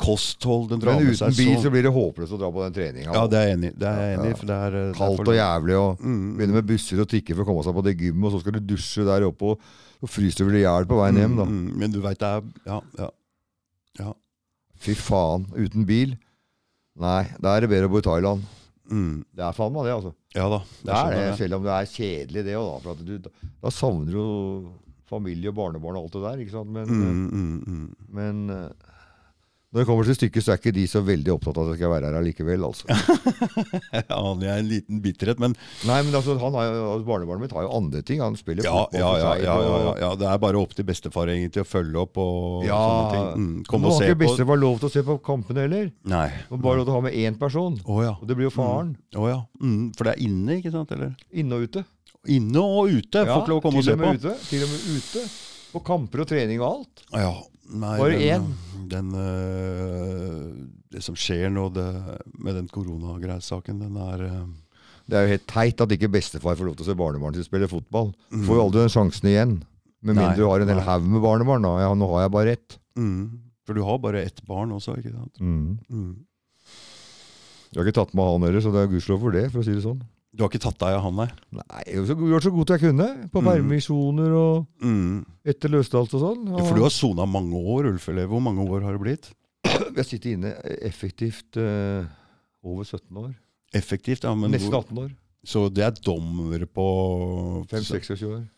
A: kosthold den drar
B: Men
A: med
B: uten
A: seg.
B: bil så
A: så-
B: blir det håpløst å dra på den treninga.
A: Ja, det er jeg enig i. Det er jeg
B: Ja,
A: enig
B: ja.
A: i, for det er, eh, det er for
B: Kaldt og
A: langt.
B: jævlig. og
A: Mm.
B: Begynner med busser og trikker for å komme seg på det gymmet, og så skal du dusje der oppe, og, og fryser du vel i hjel på veien hjem, da.
A: Mm, mm, men du veit det er Ja. ja.
B: Fy faen. Uten bil? Nei, da er det bedre å bo i Thailand.
A: Mm.
B: Det er faen meg det, altså.
A: Ja da.
B: Det er det,
A: skjønner jeg.
B: selv om det er kjedelig det òg, da. For at du, da, da savner du jo familie og barnebarn og alt det der, ikke sant. Men,
A: Mm, mm, mm. [LAUGHS]
B: men eh, når det kommer til stykket, så er ikke de så veldig opptatt av at jeg skal være her allikevel, altså.
A: Jeg aner jeg er en liten bitterhet, men
B: [LAUGHS] Nei, men altså, han har, jo- barnebarnet mitt har jo andre ting. Han spiller
A: ja,
B: fotball
A: ja,
B: for
A: ja,
B: seg.
A: ja, ja, ja,
B: og-
A: ja. Det er bare opp til bestefar egentlig å følge opp og
B: Ja.
A: sånne ting. Mm. Kom
B: Nå
A: og
B: har
A: se
B: ikke
A: på.
B: bestefar lov til å se på kampene heller.
A: Nei.
B: Han har bare lov til å ha med én person.
A: Å ja.
B: Og det blir jo faren.
A: Å ja. Mm. For det er inne, ikke sant? Eller?
B: Inne og ute.
A: Inne og ute. Får ikke lov å komme og
B: til
A: se på.
B: med Ute, til og med ute. På kamper og trening og alt.
A: Ja. Nei,
B: Bare
A: den, den, øh, det som skjer nå det, med den koronagreisaken, den er øh,
B: Det er jo helt teit at ikke bestefar får lov til å se barnebarnet sitt spille fotball. Du får jo aldri den sjansen igjen. Med
A: Nei,
B: mindre du har en hel
A: nei.
B: haug med barnebarn. Da. Ja, nå har jeg bare ett.
A: mm. For du har bare ett barn også, ikke sant? Mm.
B: Jeg har ikke tatt med han heller, så det er gudskjelov for det, for å si det sånn.
A: Du har ikke tatt deg av han, nei?
B: Nei, jeg har gjort så godt jeg kunne. På
A: Mhm.
B: permisjoner og
A: Mm.
B: etter løsdalt og sånn.
A: Ja, for du har sona mange år, Ulf. Eller hvor mange år har det blitt?
B: Jeg sitter inne effektivt eh, over 17 år.
A: Effektivt, ja. Men
B: Nesten
A: hvor,
B: 18 år.
A: så det er dommer på
B: 5-26 år.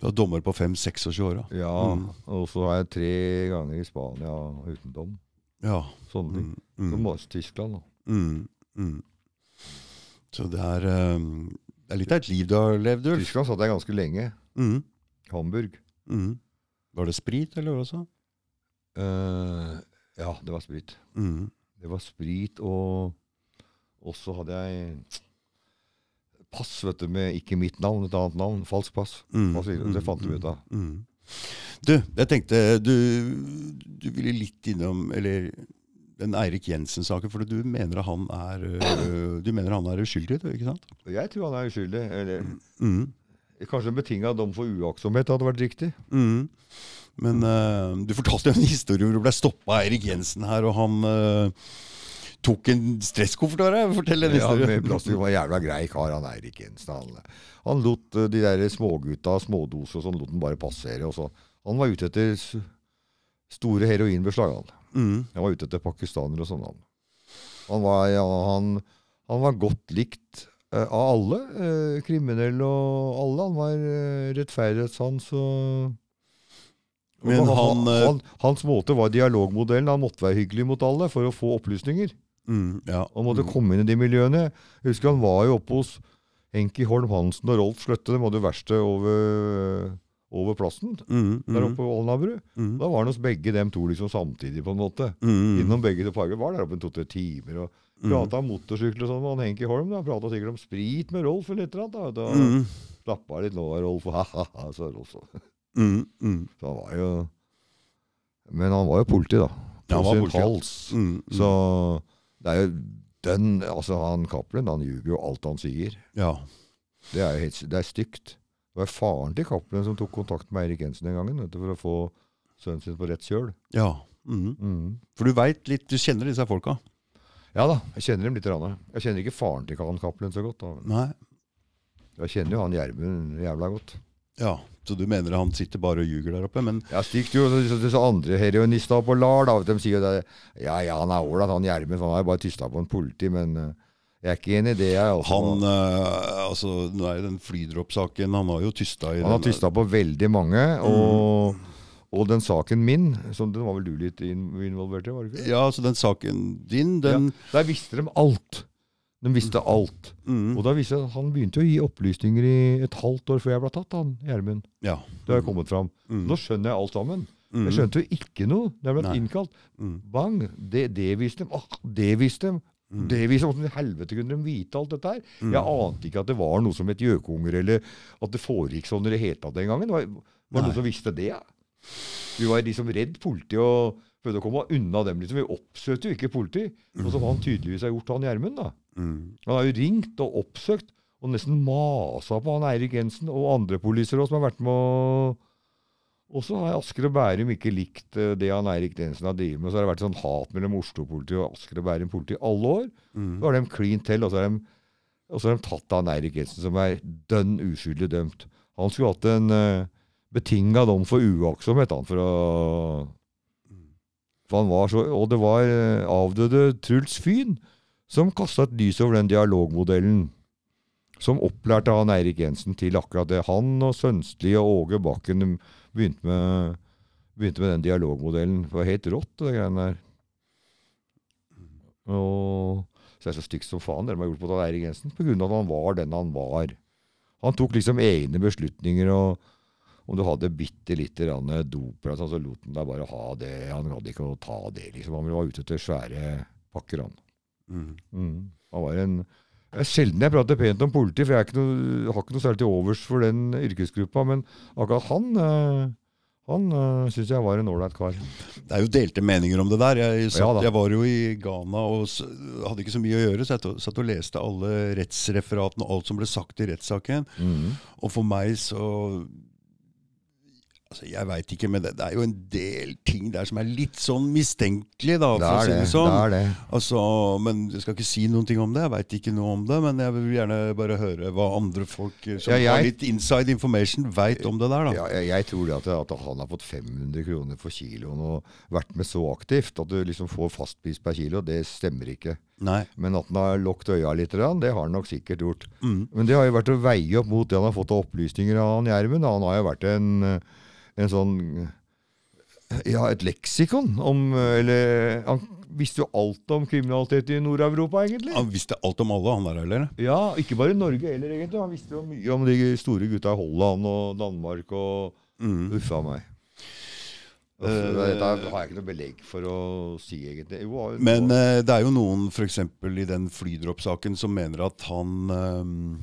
A: Du har dommer på 5-26 år, ja.
B: Ja,
A: Mhm.
B: og så har jeg tre ganger i Spania uten dom.
A: ja.
B: Sånne ting.
A: Mm.
B: Så
A: Mm.
B: må jeg til Tyskland, da.
A: Mm. Mm. Så det er, øhm, det er litt av et liv du har levd, Ulf.
B: Tyskland satt jeg ganske lenge.
A: Mm.
B: Hamburg.
A: Mm. Var det sprit, eller også?
B: Eh, ja, det var sprit.
A: Mm.
B: Det var sprit, og og så hadde jeg pass, vet du, med ikke mitt navn, et annet navn. Falsk pass.
A: Mm.
B: Hva sier du? Det fant vi ut av.
A: Mm. Du, jeg tenkte du, du ville litt innom eller den Eirik Jensen-saken, for du mener at han er øh, Du mener han er uskyldig, du, ikke sant?
B: Og Jeg tror han er uskyldig. Eller
A: Mm.
B: kanskje en betinga dom for uaktsomhet hadde vært riktig.
A: Mm. Men øh, du fortalte en historie hvor du ble stoppa av Eirik Jensen her, og han øh, tok en stresskoffert av deg. Fortell den
B: Ja,
A: historien.
B: med plastikk var en jævla grei kar, han Eirik Jensen. Han, han lot eh, de der smågutta, smådoser og sånn, lot den bare passere. Og så. Han var ute etter s- store heroinbeslag, han.
A: Mm.
B: Jeg var ute etter pakistanere og sånn. Han, han, var, ja, han, han var godt likt eh, av alle. eh, kriminelle og alle. Han var eh, rettferdighetssans og og
A: Men han, eh,
B: han, Hans måte var dialogmodellen. Han måtte være hyggelig mot alle for å få opplysninger.
A: Mm. Ja.
B: Han måtte komme inn i de miljøene. Jeg husker han var jo oppe hos Henki Holm Hansen og Rolf Sløtte. De hadde jo verksted over, over plassen
A: Mm.
B: der
A: Mm.
B: oppe på Alnabru.
A: Mm.
B: Da var han hos begge dem to liksom samtidig, på en måte
A: Mm.
B: innom begge to parker. Var der oppe en to-tre timer og
A: Mm.
B: prata om motorsykkel og sånn med han Henki Holm. da, Prata sikkert om sprit med Rolf eller et eller annet. da, da
A: Mm.
B: Slapp av litt nå, Rolf. [LAUGHS] Ha-ha-ha, sa Rolf. Så
A: Mm. Mm.
B: Så han var jo Men han var jo politi, da.
A: Ja, han
B: På
A: var
B: sin
A: politi, ja.
B: hals.
A: Mm.
B: Så det er jo den Altså, han Cappelen, han ljuger jo alt han sier.
A: Ja.
B: Det er jo helt, det er stygt. Det var faren til Cappelen som tok kontakt med Eirik Jensen den gangen vet du, for å få sønnen sin på rett kjøl.
A: ja. Mm. For du veit litt, du kjenner disse folka?
B: Ja da, jeg kjenner dem litt. Ranne. Jeg kjenner ikke faren til han Cappelen så godt. da.
A: Nei.
B: Jeg kjenner jo han Gjermund jævla godt.
A: Ja, Så du mener han sitter bare og ljuger der oppe? Men
B: Jeg stikker jo disse, disse andre heroinistene på LAR, da. De sier jo det. Ja, ja, han er ålreit, han Gjermund. for Han har jo bare tysta på en politi, men eh, jeg er ikke enig i det. jeg. Altså,
A: han eh, altså, Nå er jo den flydropp-saken Han har jo tysta i
B: han har
A: den-
B: tysta på veldig mange.
A: Mm.
B: Og, og den saken min, som den var vel du litt in involvert i? var det ikke?
A: eh, Ja, så den saken din, den
B: Ja, Der visste de alt. De visste alt.
A: Mm,
B: Og da viste det seg at han begynte å gi opplysninger i et halvt år før jeg ble tatt, han Gjermund.
A: ja.
B: Det har jo kommet fram.
A: Mm.
B: Nå skjønner jeg alt sammen.
A: Mm.
B: Jeg skjønte jo ikke noe. Det ble
A: Nei.
B: innkalt.
A: Mm.
B: Bang! Det, det visste dem. Ah, det visste dem.
A: Mhm.
B: Det visste dem. Hvordan i helvete kunne de vite alt dette her?
A: Mm.
B: Jeg ante ikke at det var noe som het gjøkunger, eller at det foregikk sånn i det hele tatt den gangen. Var, var det
A: Nei.
B: noen som visste det? ja? Vi var liksom redd politi og prøvde å komme unna dem. liksom. Vi oppsøkte jo ikke politi. Og som han tydeligvis har gjort, han Gjermund. da.
A: Mm.
B: Han har jo ringt og oppsøkt og nesten masa på han Eirik Jensen og andre poliser også, som har vært med å, Og så har Asker og Bærum ikke likt eh, det han Eirik Densen har drevet med. Så har det vært sånn hat mellom Oslo-politiet og Asker og Bærum politi i alle år.
A: Mm.
B: Så har de klin til, og så har de, og så har de tatt han Eirik Jensen, som er dønn uskyldig dømt. Han skulle hatt en uh, betinga dom for uaktsomhet, han, for å for han var så, Og det var eh, avdøde Truls Fyn som kasta et lys over den dialogmodellen. Som opplærte han Eirik Jensen til akkurat det. Han og Sønstli og Åge Bakken de begynte med, begynte med den dialogmodellen. Det var helt rått, det greiene der. Og så er det så stygt som faen det de har gjort på Eirik Jensen, på grunn av at han var den han var. Han tok liksom egne beslutninger, og om du hadde bitte lite grann dop, eller sånn, så lot han deg bare ha det. Han gadd ikke å ta det, liksom. Han var ute etter svære pakker, han.
A: Mm.
B: Mm. Han var en det er Sjelden jeg prater pent om politi, for jeg er ikke noe, har ikke noe særlig til overs for den yrkesgruppa, men akkurat han eh, han uh, syns jeg var en ålreit kar.
A: Det er jo delte meninger om det der. Jeg, satt,
B: Ja da.
A: jeg var jo i Ghana og s hadde ikke så mye å gjøre, så jeg to- satt og leste alle rettsreferatene og alt som ble sagt i rettssaken.
B: Mm.
A: Og for meg så Altså, jeg veit ikke, men det, det er jo en del ting der som er litt sånn mistenkelig, da, for å
B: Det er
A: si
B: det.
A: det
B: det,
A: sånn.
B: er det.
A: Altså, men jeg skal ikke si noen ting om det. Jeg veit ikke noe om det. Men jeg vil gjerne bare høre hva andre folk eh, som
B: Ja, jeg-
A: har litt inside information, veit om det der. da.
B: Ja, jeg, jeg tror det at, at han har fått 500 kroner for kiloen og vært med så aktivt at du liksom får fastpris per kilo, det stemmer ikke.
A: Nei.
B: Men at han har lukket øya litt, grann, det har han nok sikkert gjort. Men det har jo vært å veie opp mot det han har fått av opplysninger av han Gjermund. da. Han har jo vært en, eh, en sånn eh, Ja, et leksikon om eh, Eller han visste jo alt om kriminalitet i Nord-Europa, egentlig.
A: Han visste alt om alle, han der, eller?
B: Ja, ikke bare Norge heller, egentlig. Han visste jo mye om de store gutta i Holland og Danmark og
A: Mm.
B: Uffa meg. Uff,
A: Eh,
B: Dette har jeg ikke noe belegg for å si, egentlig. Jo, han-
A: Men eh, det er jo noen, f.eks. i den flydropp-saken, som mener at han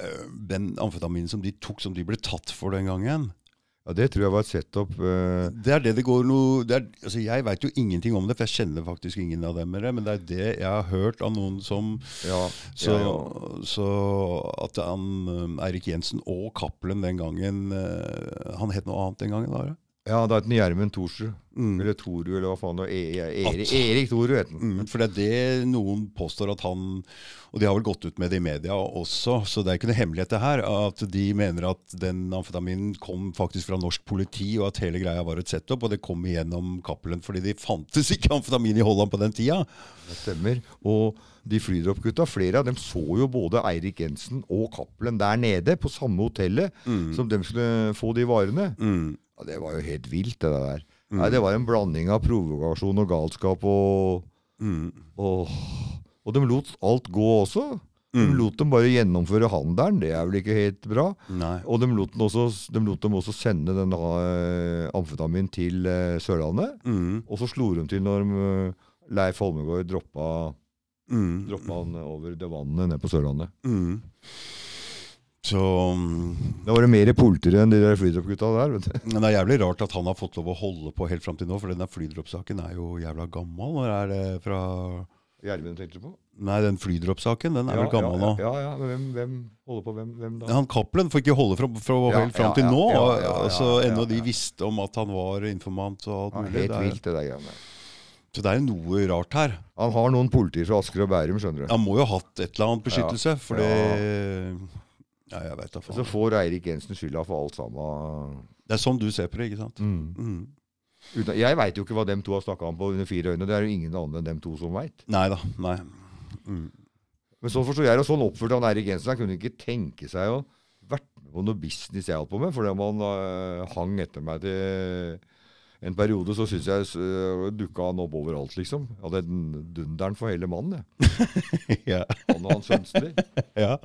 A: eh, eh, Den amfetaminen som de tok, som de ble tatt for den gangen
B: ja, det tror jeg var et setup. eh,
A: Det er det det går noe det er, altså Jeg veit jo ingenting om det, for jeg kjenner faktisk ingen av dem. eller, Men det er det jeg har hørt av noen som
B: ja,
A: Så,
B: ja, ja.
A: så at han eh, Eirik Jensen og Cappelen den gangen eh, Han het noe annet den gangen, var det?
B: ja, det er den Gjermund Thorsrud.
A: Mm.
B: Eller Toru, eller hva faen. det var. E e
A: At-
B: Erik, Erik Toru het den.
A: Mm, for det er det noen påstår at han Og de har vel gått ut med det i media også, så det er ikke noe hemmelighet det her. At de mener at den amfetaminen kom faktisk fra norsk politi, og at hele greia var et setup. Og det kom igjennom Cappelen, fordi det fantes ikke amfetamin i Holland på den tida.
B: Det stemmer. Og de flydroppgutta, flere av dem så jo både Eirik Jensen og Cappelen der nede, på samme hotellet,
A: Mm.
B: som dem skulle få de varene. Ja, det var jo helt vilt, det der.
A: Mm.
B: Nei, det var en blanding av provokasjon og galskap og
A: mm,
B: Åh. Og de lot alt gå også. De
A: Mm.
B: lot dem bare gjennomføre handelen, det er vel ikke helt bra.
A: Nei.
B: Og de lot, den også, de lot dem også sende den eh, amfetamin til eh, Sørlandet.
A: mm,
B: Og så slo de til når eh, Leif Holmegård droppa,
A: mm,
B: droppa han over det vannet nede på Sørlandet.
A: Så mm,
B: Da var det mer polter enn de der flydroppgutta der. vet du.
A: Men det er jævlig rart at han har fått lov å holde på helt fram til nå, for den der flydroppsaken er jo jævla gammel. Når er det fra
B: Gjermund tenkte du på?
A: Nei, den flydroppsaken, den er vel gammel nå.
B: ja, ja, ja, men hvem, hvem holder på hvem, hvem da?
A: Han Cappelen får ikke holde fra, fra
B: Ja,
A: helt fram
B: ja,
A: til
B: ja,
A: nå.
B: ja,
A: og-
B: ja, ja,
A: altså,
B: ja,
A: Ennå
B: ja.
A: de visste om at han var informant og alt
B: Ja,
A: mulig.
B: helt
A: det er-
B: vilt, det der greiene.
A: Så det er jo noe rart her.
B: Han har noen politier fra Asker og Bærum, skjønner du.
A: Han må jo ha hatt et eller annet beskyttelse, for det Ja, jeg veit da
B: Og så
A: faen.
B: får Eirik Jensen skylda for alt sammen.
A: Det er sånn du ser på det, ikke sant? Mm.
B: Uten, jeg veit jo ikke hva dem to har snakka om på under fire øyne. Det er jo ingen andre enn dem to som veit.
A: Nei da.
B: [LAUGHS]
A: Nei. Mm.
B: Men sånn forstår jeg det, og sånn oppførte han Eirik Jensen. Han kunne ikke tenke seg å vært med på noe business jeg holdt på med, fordi om han øh, hang etter meg til en periode, så syns jeg øh, dukka han opp overalt, liksom. Jeg hadde den dunderen for hele mannen, jeg.
A: ja.
B: Han og hans Sønstli.
A: [LAUGHS] ja.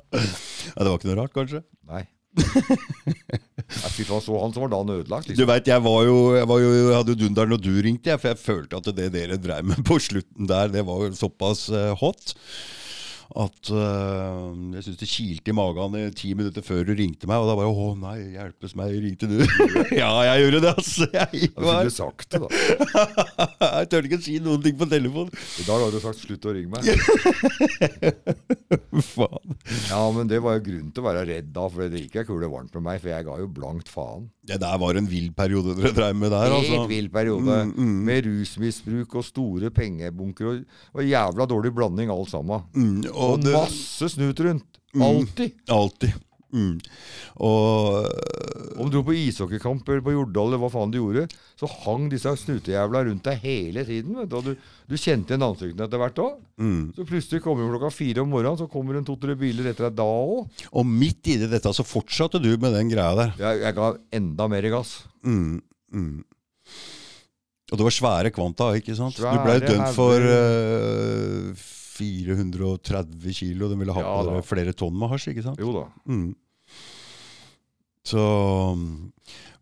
A: Ja, Det var ikke noe rart, kanskje?
B: Nei. Jeg fy faen, så han som var da han ødelagt,
A: Du
B: liksom.
A: vet, jeg, var jo, jeg, var jo, jeg hadde jo dunderen når du ringte, jeg, for jeg følte at det dere drev med på slutten der, det var jo såpass eh, hot. at eh, jeg syns det kilte i magen i ti minutter før du ringte meg. Og da bare Å nei, hjelpes meg, ringte du? [LAUGHS] ja, jeg gjorde det, altså. Jeg,
B: Da skulle
A: var,
B: du sagt det, da.
A: jeg tør ikke si noen ting på telefon.
B: I dag har du sagt 'slutt å ringe meg'.
A: Faen.
B: Ja, men det var jo grunn til å være redd da, for det gikk ei kule varmt med meg, for jeg ga jo blankt faen.
A: Det der var en vill periode dere drev med der, altså.
B: Helt vill periode. Med rusmisbruk og store pengebunker og, og jævla dårlig blanding alt sammen.
A: Mm,
B: Og,
A: og det, Mm.
B: masse snut rundt. Alltid.
A: alltid. Mm. Og øh,
B: Om du dro på ishockeykamp eller på Jordal eller hva faen du gjorde, så hang disse snutejævla rundt deg hele tiden. Vet du. Og du, du kjente igjen ansiktene etter hvert òg.
A: Mm.
B: Så plutselig kommer du klokka fire om morgenen, så kommer det en to-tre biler etter deg da òg.
A: Og midt i det dette så fortsatte du med den greia der.
B: Jeg, jeg ga enda mer gass.
A: Mm, mm. Og det var svære kvanta, ikke sant? du ble
B: Svære
A: dømt for
B: hauger.
A: øh, 430 kilo. De ville ha
B: Ja
A: på
B: da.
A: dere flere tonn med hasj, ikke sant?
B: Jo da.
A: Mm. Så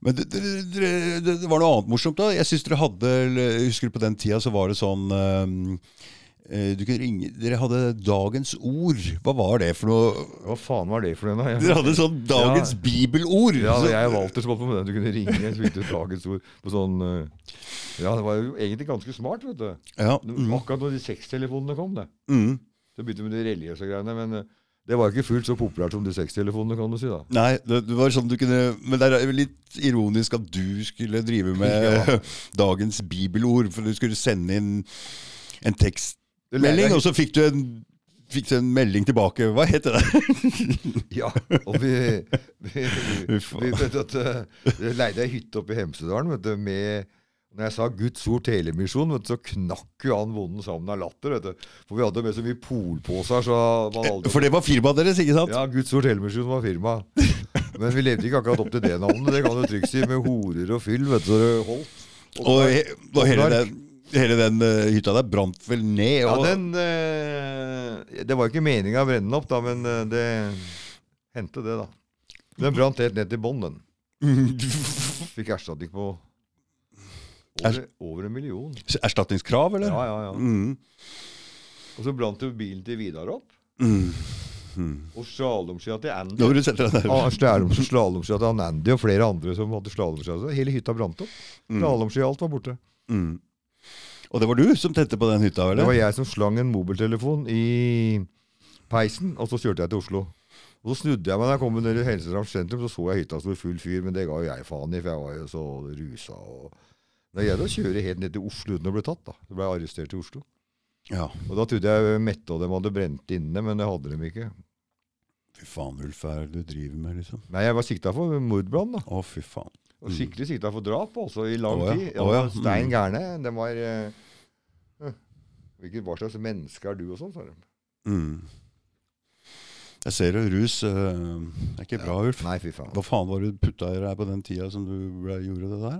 A: Men det, det, det, det, det var noe annet morsomt da. Jeg synes dere hadde eller, jeg Husker du på den tida så var det sånn ehm, eh, du kunne ringe, Dere hadde Dagens ord. Hva var det for noe?
B: Hva faen var det for noe? Jeg-
A: Dere hadde sånn Dagens
B: [LAUGHS] Ja.
A: bibelord!
B: Ja,
A: så-
B: det- jeg og Walter som holdt på med den. Du kunne ringe. Jeg spilte ut dagens ord på sånn eh, Ja, det var jo egentlig ganske smart, vet du.
A: ja.
B: Det-
A: Mm,
B: Akkurat når de sextelefonene kom, det.
A: mm.
B: Så begynte vi med de religiøse greiene. Men eh, det var ikke fullt så populært som de sextelefonene, kan du si. da.
A: Nei, det, det var sånn du kunne Men det er jo litt ironisk at du skulle drive med
B: [LAUGHS]
A: Dagens bibelord, for du skulle sende inn en tekst
B: Det
A: melding,
B: lærte
A: og så fikk du en Fikk du en melding tilbake. Hva heter det?
B: jeg- Ja, og vi, vi, [LAUGHS] vi,
A: Uff,
B: vi vet at, eh, vi leide ei hytte oppe i Hemsedalen vet du, med når jeg sa Guds ord telemisjon, vet du, så knakk jo han bonden sammen av latter. vet du. For vi hadde med så mye polposer, så man aldri
A: For det var firmaet deres, ikke sant?
B: Ja, Guds ord Helmersen var [LAUGHS] firma. Men vi levde ikke akkurat opp til det navnet. Det kan du trygt si, med horer og fyll. vet du, så det holdt.
A: og he, og hele,
B: Opplag.
A: den, hele den eh, hytta der brant vel ned.
B: Ja,
A: Og,
B: den, eh, det var ikke meninga å brenne den opp, da, men eh, det hendte det, da. Den brant helt ned til bånn, den. Fikk erstatning på over, over en million.
A: [LAUGHS] Erstatningskrav, eller?
B: Ja, ja, ja.
A: Mm.
B: Og så brant jo bilen til Vidar opp.
A: Mm.
B: Og slalåmskia til Andy.
A: Når du setter deg der.
B: Ah, slalom- Slalåmskia til han Andy og flere andre som hadde slalåmskia. Så Hele hytta brant opp. Slalåmskia, alt var borte.
A: Mm. Og det var du som tente på den hytta,
B: Det
A: eller?
B: var jeg som slang en mobiltelefon i peisen, og så kjørte jeg til Oslo. Og så snudde jeg meg da jeg kom ned i Helsedrams sentrum, så så jeg hytta sto i full fyr, men det ga jo jeg faen i, for jeg var jo så rusa. og... Det gjelder å kjøre helt ned til Oslo uten å bli tatt. da. Så ble jeg arrestert i Oslo.
A: Ja.
B: Og Da trodde jeg Mette og dem hadde brent inne, men det hadde dem ikke.
A: Fy faen, Ulf, hva er det du driver med, liksom?
B: Nei, jeg var sikta for mordbrann, da.
A: Å, fy faen.
B: Og skikkelig sikta for drap, altså, i lang
A: Mm. Å ja,
B: tid. Jeg
A: å
B: var
A: ja, mm.
B: Stein gærne. De var eh, «Hm, Hvilket hva slags menneske er du, og sånn, sa de.
A: Mm. Jeg ser jo rus eh, Det er ikke bra, Ulf.
B: Nei, fy faen.
A: Hva faen var det du putta i deg på den tida som du ble, gjorde det der?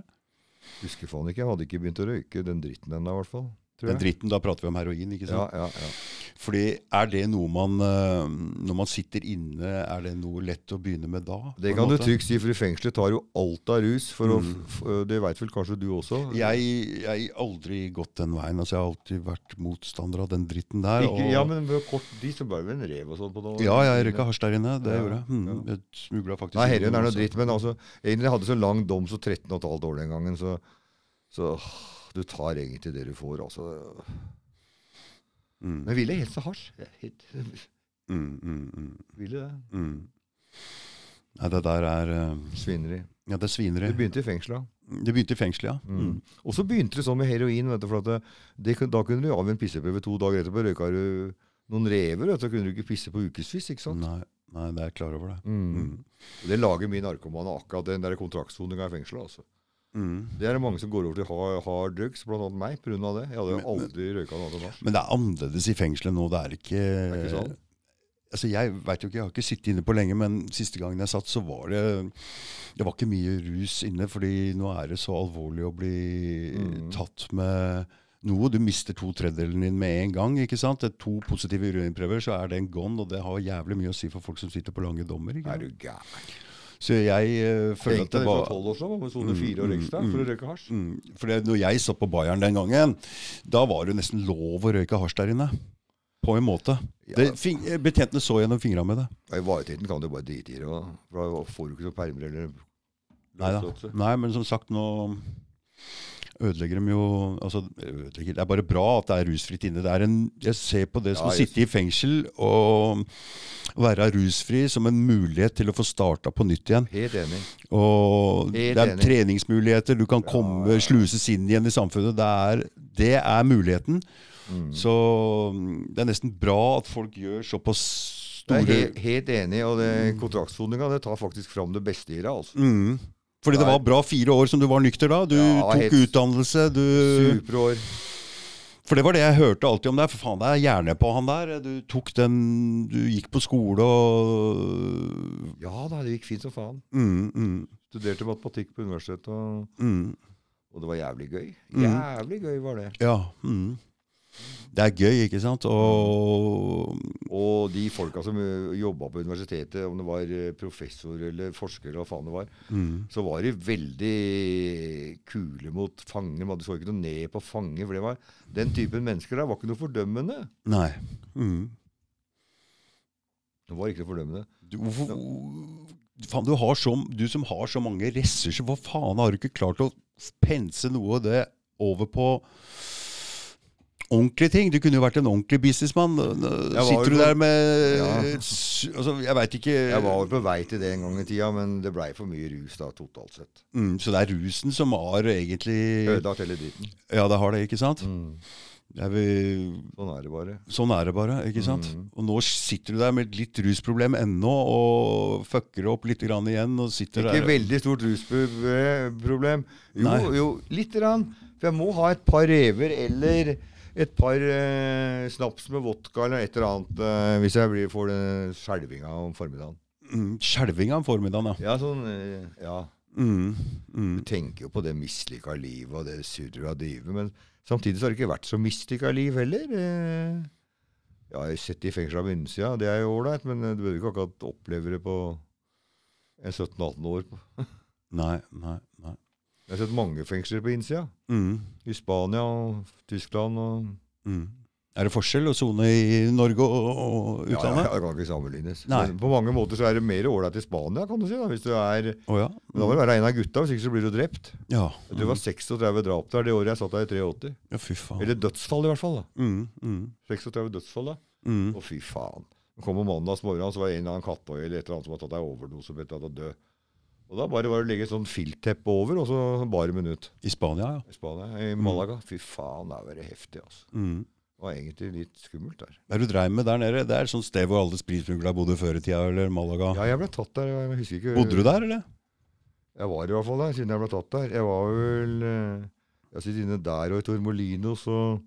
B: Husker faen ikke. Jeg hadde ikke begynt å røyke den dritten ennå, i hvert fall. Tror
A: Den
B: jeg.
A: dritten, Da prater vi om heroin, ikke
B: Ja,
A: sant?
B: ja, ja.
A: Fordi er det noe man eh, Når man sitter inne, er det noe lett å begynne med da? på
B: Det
A: en
B: kan du
A: måte? Mm.
B: trygt si, for i fengselet tar jo alt av rus. For å, f- f- det veit vel kanskje du også?
A: Jeg jeg har aldri gått den veien. altså Jeg har alltid vært motstander av den dritten der.
B: ikke, ja, men ved kort tid så ble det vel en rev og sånn på noe.
A: ja, jeg røyka hasj der inne. Det
B: Ja,
A: gjorde jeg. Mm, jeg smugla faktisk
B: Nei,
A: inn
B: heroin er noe
A: også.
B: dritt, men altså, egentlig hadde jeg så lang dom så 13 og et halvt år den gangen, så, så åh, du tar egentlig det du får, altså.
A: Mm,
B: Men jeg ville helst ha hasj. Jeg helt-
A: mm, mm, mm,
B: Ville det.
A: mm. Nei, det der er eh,
B: Svineri.
A: Ja, det er
B: Det
A: svineri.
B: begynte i fengselet.
A: Det begynte i fengselet, ja.
B: Mm. Og så begynte det sånn med heroin. Vet du, for at det, det, kun- da kunne du avgi en pisseprøve to dager etterpå. Røyka du noen rever, vet du, så kunne du ikke pisse på ukevis. ikke sant?
A: Nei, nei, det er jeg klar over, det.
B: Mm. Og Det lager min narkomane akkurat den der kontraktsoninga i fengselet. altså.
A: Mm.
B: Det er det mange som går over til hard, hard drugs, blant annet meg, pga. det. Jeg hadde
A: Men-
B: jo aldri røyka noe annet enn hasj.
A: Men det er annerledes i fengselet nå. Det er ikke,
B: Er ikke sånn?
A: Altså, jeg vet jo ikke, jeg har ikke sittet inne på lenge, men siste gangen jeg satt, så var det Det var ikke mye rus inne, fordi nå er det så alvorlig å bli
B: Mm.
A: tatt med noe. Du mister to tredjedelen din med en gang. ikke sant? Det er to positive urinprøver, så er den gone, og det har jævlig mye å si for folk som sitter på lange dommer. ikke
B: Er
A: sant?
B: du gæren?
A: Så jeg eh, føler
B: Tenkte
A: at det
B: jeg fra
A: var
B: tolv år sånn, om sone fire år ekstra for å røyke hasj.
A: Mm, for det, når jeg satt på Bayern den gangen, da var det jo nesten lov å røyke hasj der inne. På en måte. Det, fing, eh, betjentene så gjennom fingra med det.
B: I varetiden kan du bare drite i det. da. For da får du ikke noen permer eller
A: Nei da.
B: løslatelse.
A: Nei, men som sagt, nå ødelegger de jo altså, ødelegger, Det er bare bra at det er rusfritt inne. Det er en, jeg ser på det som
B: Ja,
A: å
B: jeg-
A: sitte i fengsel og være rusfri som en mulighet til å få starta på nytt igjen.
B: Helt enig.
A: Og
B: Helt
A: det er
B: enig.
A: treningsmuligheter. Du kan komme, sluses inn igjen i samfunnet. Det er, det er muligheten.
B: Mm.
A: Så mm, det er nesten bra at folk gjør såpass
B: Jeg er
A: store
B: he helt enig, og det- kontraktssoninga det tar faktisk fram det beste i deg. altså.
A: mm. Fordi det
B: Nei.
A: var bra fire år som du var nykter da. Du
B: Ja,
A: tok
B: helt-
A: utdannelse. Du,
B: Superår.
A: for det var det jeg hørte alltid om deg. For faen, det er hjerne på han der. Du tok den Du gikk på skole og
B: Ja da, det gikk fint som faen.
A: mm, mm,
B: Studerte matematikk på universitetet, og,
A: mm.
B: og det var jævlig gøy.
A: Mm.
B: Jævlig gøy var det.
A: Ja. Mm. Det er gøy, ikke sant? Og
B: Og de folka som jobba på universitetet, om det var ø, professor eller forsker, eller hva faen det var,
A: mm.
B: så var de veldig kule mot fanger. Man så ikke noe ned på fanger. For det var, den typen mennesker der var ikke noe fordømmende.
A: Nei. Mm.
B: Det var ikke noe fordømmende.
A: Du, hvorfor, faen, du, har så, du som har så mange ressurser, hva faen har du ikke klart å pense noe av det over på ordentlige ting? Du kunne jo vært en ordentlig businessmann. Nå
B: Jeg var
A: Sitter
B: jo
A: du
B: på-
A: der med
B: Ja.
A: s- altså, Jeg veit ikke
B: Jeg var vel på vei til det en gang i tida, men det blei for mye rus da, totalt sett.
A: mm, Så det er rusen som har egentlig
B: Ødelagt Mm. hele dritten.
A: Ja, det har det, ikke sant? Det er vel-
B: Sånn er det bare.
A: Sånn er det bare. ikke sant?
B: Mhm.
A: Og nå sitter du der med et litt rusproblem ennå og fucker opp litt grann igjen. og sitter
B: Ikke
A: der...
B: veldig stort rusproblem. Jo,
A: Nei.
B: jo, lite grann. For jeg må ha et par rever eller et par eh, snaps med vodka eller et eller annet eh, hvis jeg blir, får den skjelvinga om formiddagen.
A: Mm, Skjelvinga om formiddagen, ja.
B: Ja, sånn eh, Ja.
A: Mm, mm.
B: Du tenker jo på det mislykka livet og det surret og drivet, men samtidig så har det ikke vært så mislykka liv heller. Eh, Ja, jeg har sett det i fengsel av innsida, det er jo ålreit, men eh, du behøver ikke akkurat oppleve det på en 17-18 år.
A: Nei, nei, nei.
B: Jeg har sett mange fengsler på innsida.
A: Mm,
B: I Spania og Tyskland og
A: mm. Er det forskjell å sone i Norge og, og
B: Ja, ja,
A: utlandet?
B: det kan ikke sammenlignes.
A: Nei.
B: Men på mange måter så er det mer ålreit i Spania, kan du si. da, hvis du er...
A: Å ja.
B: Men da må du være en av gutta, hvis ikke så blir du drept.
A: Mm. Ja. Mm.
B: Det var 36 drap der det året jeg satt der i 83.
A: ja, fy faen.
B: Eller dødsfall, i hvert fall. da.
A: Mm, mm,
B: 36 dødsfall, da.
A: mm.
B: Å, fy faen. Det kom om mandags morgen, så var det en eller annen katthoi eller et eller annet som hadde tatt ei overdose og bedt deg dø. Og da bare var det å legge et sånt filtteppe over, og så bare et minutt.
A: I Spania, ja.
B: I Spania, i Malaga. Fy faen, det var det heftig, altså.
A: Mm.
B: Det var egentlig litt skummelt der.
A: Hva er det du dreiv med der nede? Det er et sånt sted hvor alle spritsmuglere bodde før i tida, eller Malaga.
B: Ja, jeg ble tatt der, jeg husker ikke.
A: Ah. Bodde du der, eller?
B: Jeg var i hvert fall der, siden jeg ble tatt der. Jeg var vel eh, Jeg sitter inne der og i Tormolinos og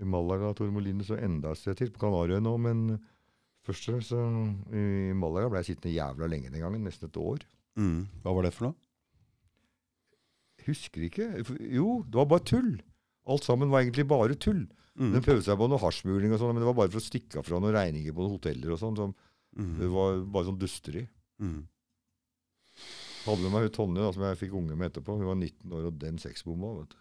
B: i Malaga Tormolinos og enda et sted til, på Kanariøyene òg, men først og fremst så i Malaga ble jeg sittende jævla lenge den gangen, nesten et år.
A: Mm. Hva var det for noe?
B: Husker ikke. F- Jo, det var bare tull. Alt sammen var egentlig bare tull.
A: Mm.
B: Den prøvde seg på noe hasjmuling og sånn, men det var bare for å stikke av fra noen regninger på noen hoteller og sånn. som- Det
A: Mm.
B: var bare sånn dusteri.
A: Mm.
B: Hadde med meg hun Tonje, da, som jeg fikk unge med etterpå. Hun var 19 år og den sexbomma, vet du.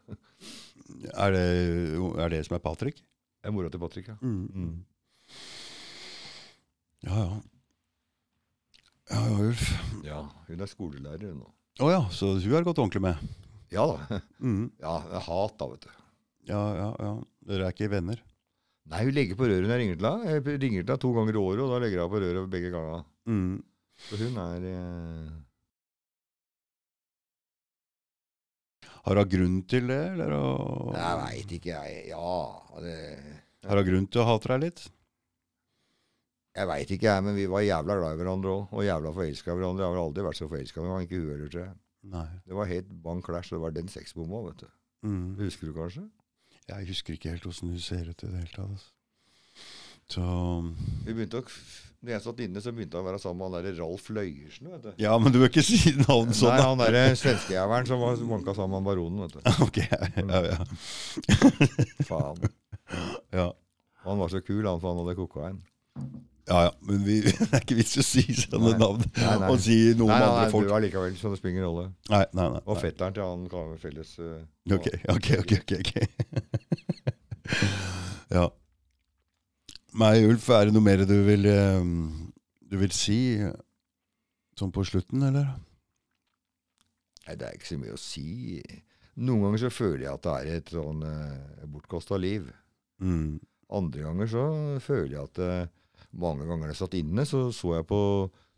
A: Er, det, er det som er Patrick?
B: Det er mora til Patrick, ja. Mm.
A: Ja, ja. Ja, ja, Ulf.
B: Ja, hun er skolelærer hun nå.
A: Å ja, så hun har gått ordentlig med.
B: Ja da.
A: Mm.
B: Ja, det er hat da, vet du.
A: Ja, ja, ja. Dere er ikke venner?
B: Nei, hun legger på røret når jeg ringer til henne. Jeg ringer til henne to ganger i året, og da legger hun på røret begge ganger.
A: Mm.
B: Så hun er eh...
A: Har hun grunn til det, eller? å-
B: Jeg veit ikke, jeg. Ja, det...
A: Har hun grunn til å hate deg litt?
B: Jeg veit ikke, jeg, men vi var jævla glad i hverandre òg. Og jævla forelska i hverandre. Jeg har vel aldri vært så forelska i hverandre. Ikke hun heller, tror jeg.
A: Nei.
B: Det var helt bang clash, og det var den sexbomma, vet du.
A: Mm.
B: Husker du kanskje?
A: Jeg husker ikke helt åssen hun ser ut i det hele tatt. altså. Så mm.
B: Vi begynte å... f- Når jeg satt inne, så begynte han å være sammen med han derre Ralf Løyersen, vet du.
A: Ja, men du bør ikke si navn sånn,
B: Nei,
A: da.
B: han derre svenskejævelen som var vanka sammen med baronen, vet du.
A: [LAUGHS] Ok, ja, ja.
B: Mm.
A: [LAUGHS]
B: Faen.
A: ja.
B: Og han var så kul, han, for han hadde kokain.
A: Ja, ja, men vi, [LAUGHS] det er ikke vits i å si sånne
B: Nei.
A: navn
B: Nei, nei.
A: og si noe om
B: Nei, nei,
A: andre
B: nei,
A: folk.
B: du er likevel så det spiller ingen rolle.
A: Nei, nei, nei.
B: Og
A: nei.
B: fetteren til han kan ha felles eh,
A: [LAUGHS] Ok, ok, ok. ok, ok. ja. Nei, Ulf, er det noe mer du vil, eh, du vil si eh, sånn på slutten, eller?
B: Nei, det er ikke så mye å si. Noen ganger så føler jeg at det er et sånn eh, bortkasta liv.
A: Mm.
B: Andre ganger så føler jeg at eh, mange ganger jeg satt inne, så så jeg på,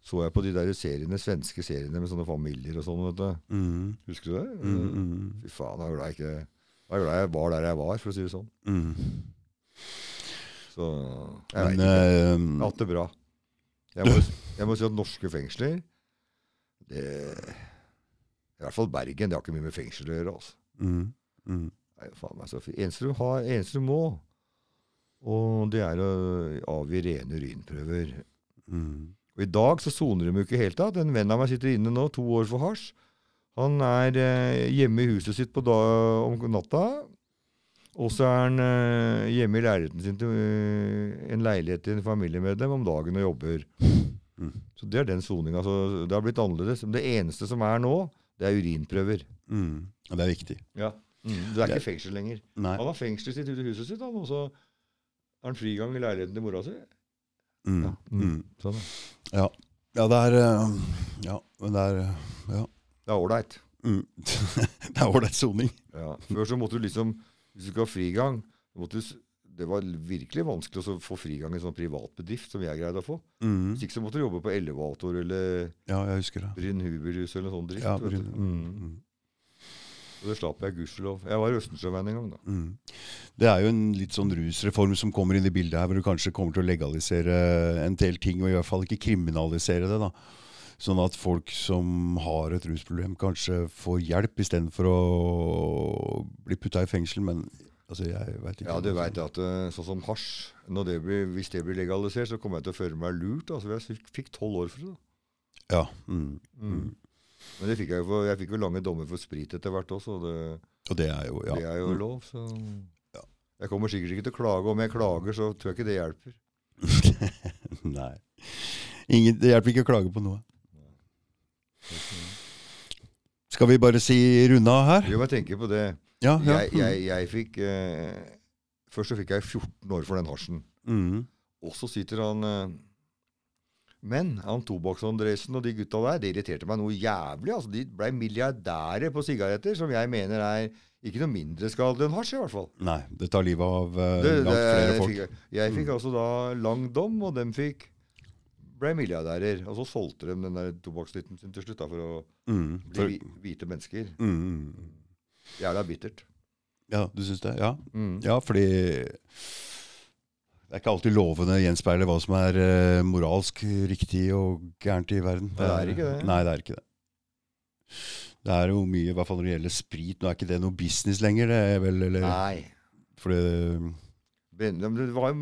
B: så jeg på de der seriene, svenske seriene med sånne familier og sånn. vet du.
A: Mm.
B: Husker du det?
A: Mm. Mm.
B: Fy faen, jeg er glad jeg ikke jeg er glad jeg var der jeg var, for å si det sånn.
A: Mm.
B: Så jeg vet
A: Men
B: ikke. Jeg
A: eh,
B: har hatt det bra. Jeg må, jeg må si at norske fengsler det, I hvert fall Bergen. Det har ikke mye med fengsel å gjøre. altså.
A: mm. Mm.
B: Nei, faen meg så fint. Eneste du har, eneste du må, og det er å avgi rene urinprøver.
A: Mm.
B: Og I dag så soner de jo ikke i hele tatt. En venn av meg sitter inne nå, to år for hasj. Han er eh, hjemme i huset sitt på da, om natta. Og så er han eh, hjemme i leiligheten sin til eh, en leilighet til en familiemedlem om dagen og jobber.
A: Mm.
B: Så det er den soninga. så Det har blitt annerledes. Men det eneste som er nå, det er urinprøver.
A: Mm. Ja, Det er viktig.
B: Ja. Det er ikke fengsel lenger.
A: Nei.
B: Han har fengselet sitt ute i huset sitt, han, og så er han frigang i leiligheten til mora si.
A: Mm. Mm.
B: Sånn,
A: Ja. ja, det er eh, Ja, men det er eh, Ja.
B: det er ålreit.
A: Mm. [LAUGHS] det er ålreit soning.
B: Ja. Før så måtte du liksom Hvis du skulle ha frigang så måtte du, s- Det var virkelig vanskelig å så få frigang i en sånn privat bedrift som jeg greide å få.
A: Mm.
B: Hvis ikke så måtte du jobbe på elevator eller
A: Ja, jeg husker det.
B: Bryn Huberhus eller sånn dritt.
A: Ja,
B: vet du.
A: Bryn-
B: Mm.
A: Mm.
B: Og det slapp jeg, gudskjelov. Jeg var Østensjøveien en gang, da.
A: Mm. Det er jo en litt sånn rusreform som kommer inn i bildet her, hvor du kanskje kommer til å legalisere en del ting, og i hvert fall ikke kriminalisere det. da. Sånn at folk som har et rusproblem, kanskje får hjelp istedenfor å bli putta i fengsel. Men altså, jeg veit ikke.
B: Ja, du veit at eh, sånn som hasj når det blir, Hvis det blir legalisert, så kommer jeg til å føle meg lurt. Altså, jeg fikk tolv år for det. da.
A: Ja, mm.
B: Mm. Men det fikk jeg, jo for, jeg fikk jo lange dommer for sprit etter hvert også, og det,
A: Og det er jo ja. Mm.
B: det er jo lov. Så
A: Ja.
B: jeg kommer sikkert ikke til å klage. Om jeg klager, så tror jeg ikke det hjelper.
A: [LAUGHS] Nei. Ingen, det hjelper ikke å klage på noe.
B: Mm.
A: Skal vi bare si runda her?
B: Jo, men jeg tenker på det.
A: Ja. ja.
B: Jeg, jeg, jeg fikk eh, Først så fikk jeg 14 år for den hasjen.
A: Mm.
B: Og så sitter han eh, Men han Tobakks-Andresen og de gutta der, det irriterte meg noe jævlig. altså De blei milliardærer på sigaretter, som jeg mener er ikke noe mindre skadelig enn hasj, i hvert fall.
A: Nei, det tar livet av eh,
B: Det,
A: langt flere
B: det
A: folk. Mm.
B: fikk jeg. jeg fikk altså da lang dom, og dem fikk ble milliardærer. Og så solgte de den der tobakksliten sin til slutt da, for å
A: Mm.
B: bli
A: For,
B: hvi- hvite mennesker.
A: mm.
B: Jævla bittert.
A: Ja, du syns det? Ja.
B: Mm.
A: ja, fordi det er ikke alltid lovene gjenspeiler hva som er eh, moralsk riktig og gærent i verden.
B: Nei, det er ikke det.
A: Nei, det er ikke det. Det er jo mye, i hvert fall når det gjelder sprit. Nå er ikke det noe business lenger, det er vel? Eller,
B: Nei.
A: fordi,
B: Men Det var jo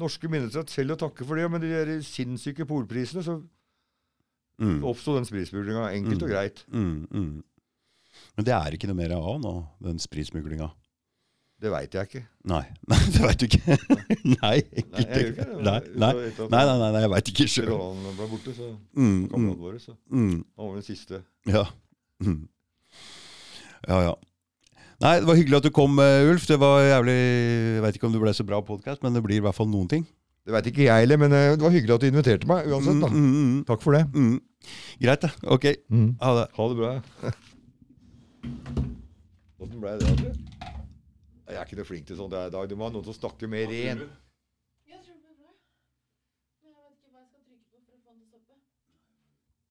B: norske myndigheter selv å takke for det, men de der sinnssyke polprisene, så
A: mm,
B: oppsto den spritsmuglinga. Enkelt og
A: Mm.
B: greit.
A: mm, mm. Men det er ikke noe mer av nå, den spritsmuglinga.
B: Det veit jeg
A: [LAUGHS]
B: ikke.
A: Nei, nei, det veit du ikke. [LAUGHS] nei,
B: Nei, jeg gjør ikke det.
A: Nei, nei,
B: Så etter at
A: nei, nei, nei, nei jeg veit ikke sjøl.
B: Roland ble borte, så
A: Mm, mm,
B: kameraten vår, så
A: mm.
B: han var den siste.
A: Ja. Mm. Ja, ja. Nei, det var hyggelig at du kom, eh, Ulf. Det var jævlig Jeg veit ikke om det ble så bra podkast, men det blir i hvert fall noen ting.
B: Det veit ikke jeg heller, men eh, det var hyggelig at du inviterte meg uansett. da.
A: Mm, mm, mm,
B: Takk for det.
A: mm. Greit, da. Ok. Ha det.
B: Mm. Ha det bra. [LAUGHS] Hvordan ble det? Altså? Jeg er ikke noe flink til sånt i dag. Du må ha noen som snakker mer ren.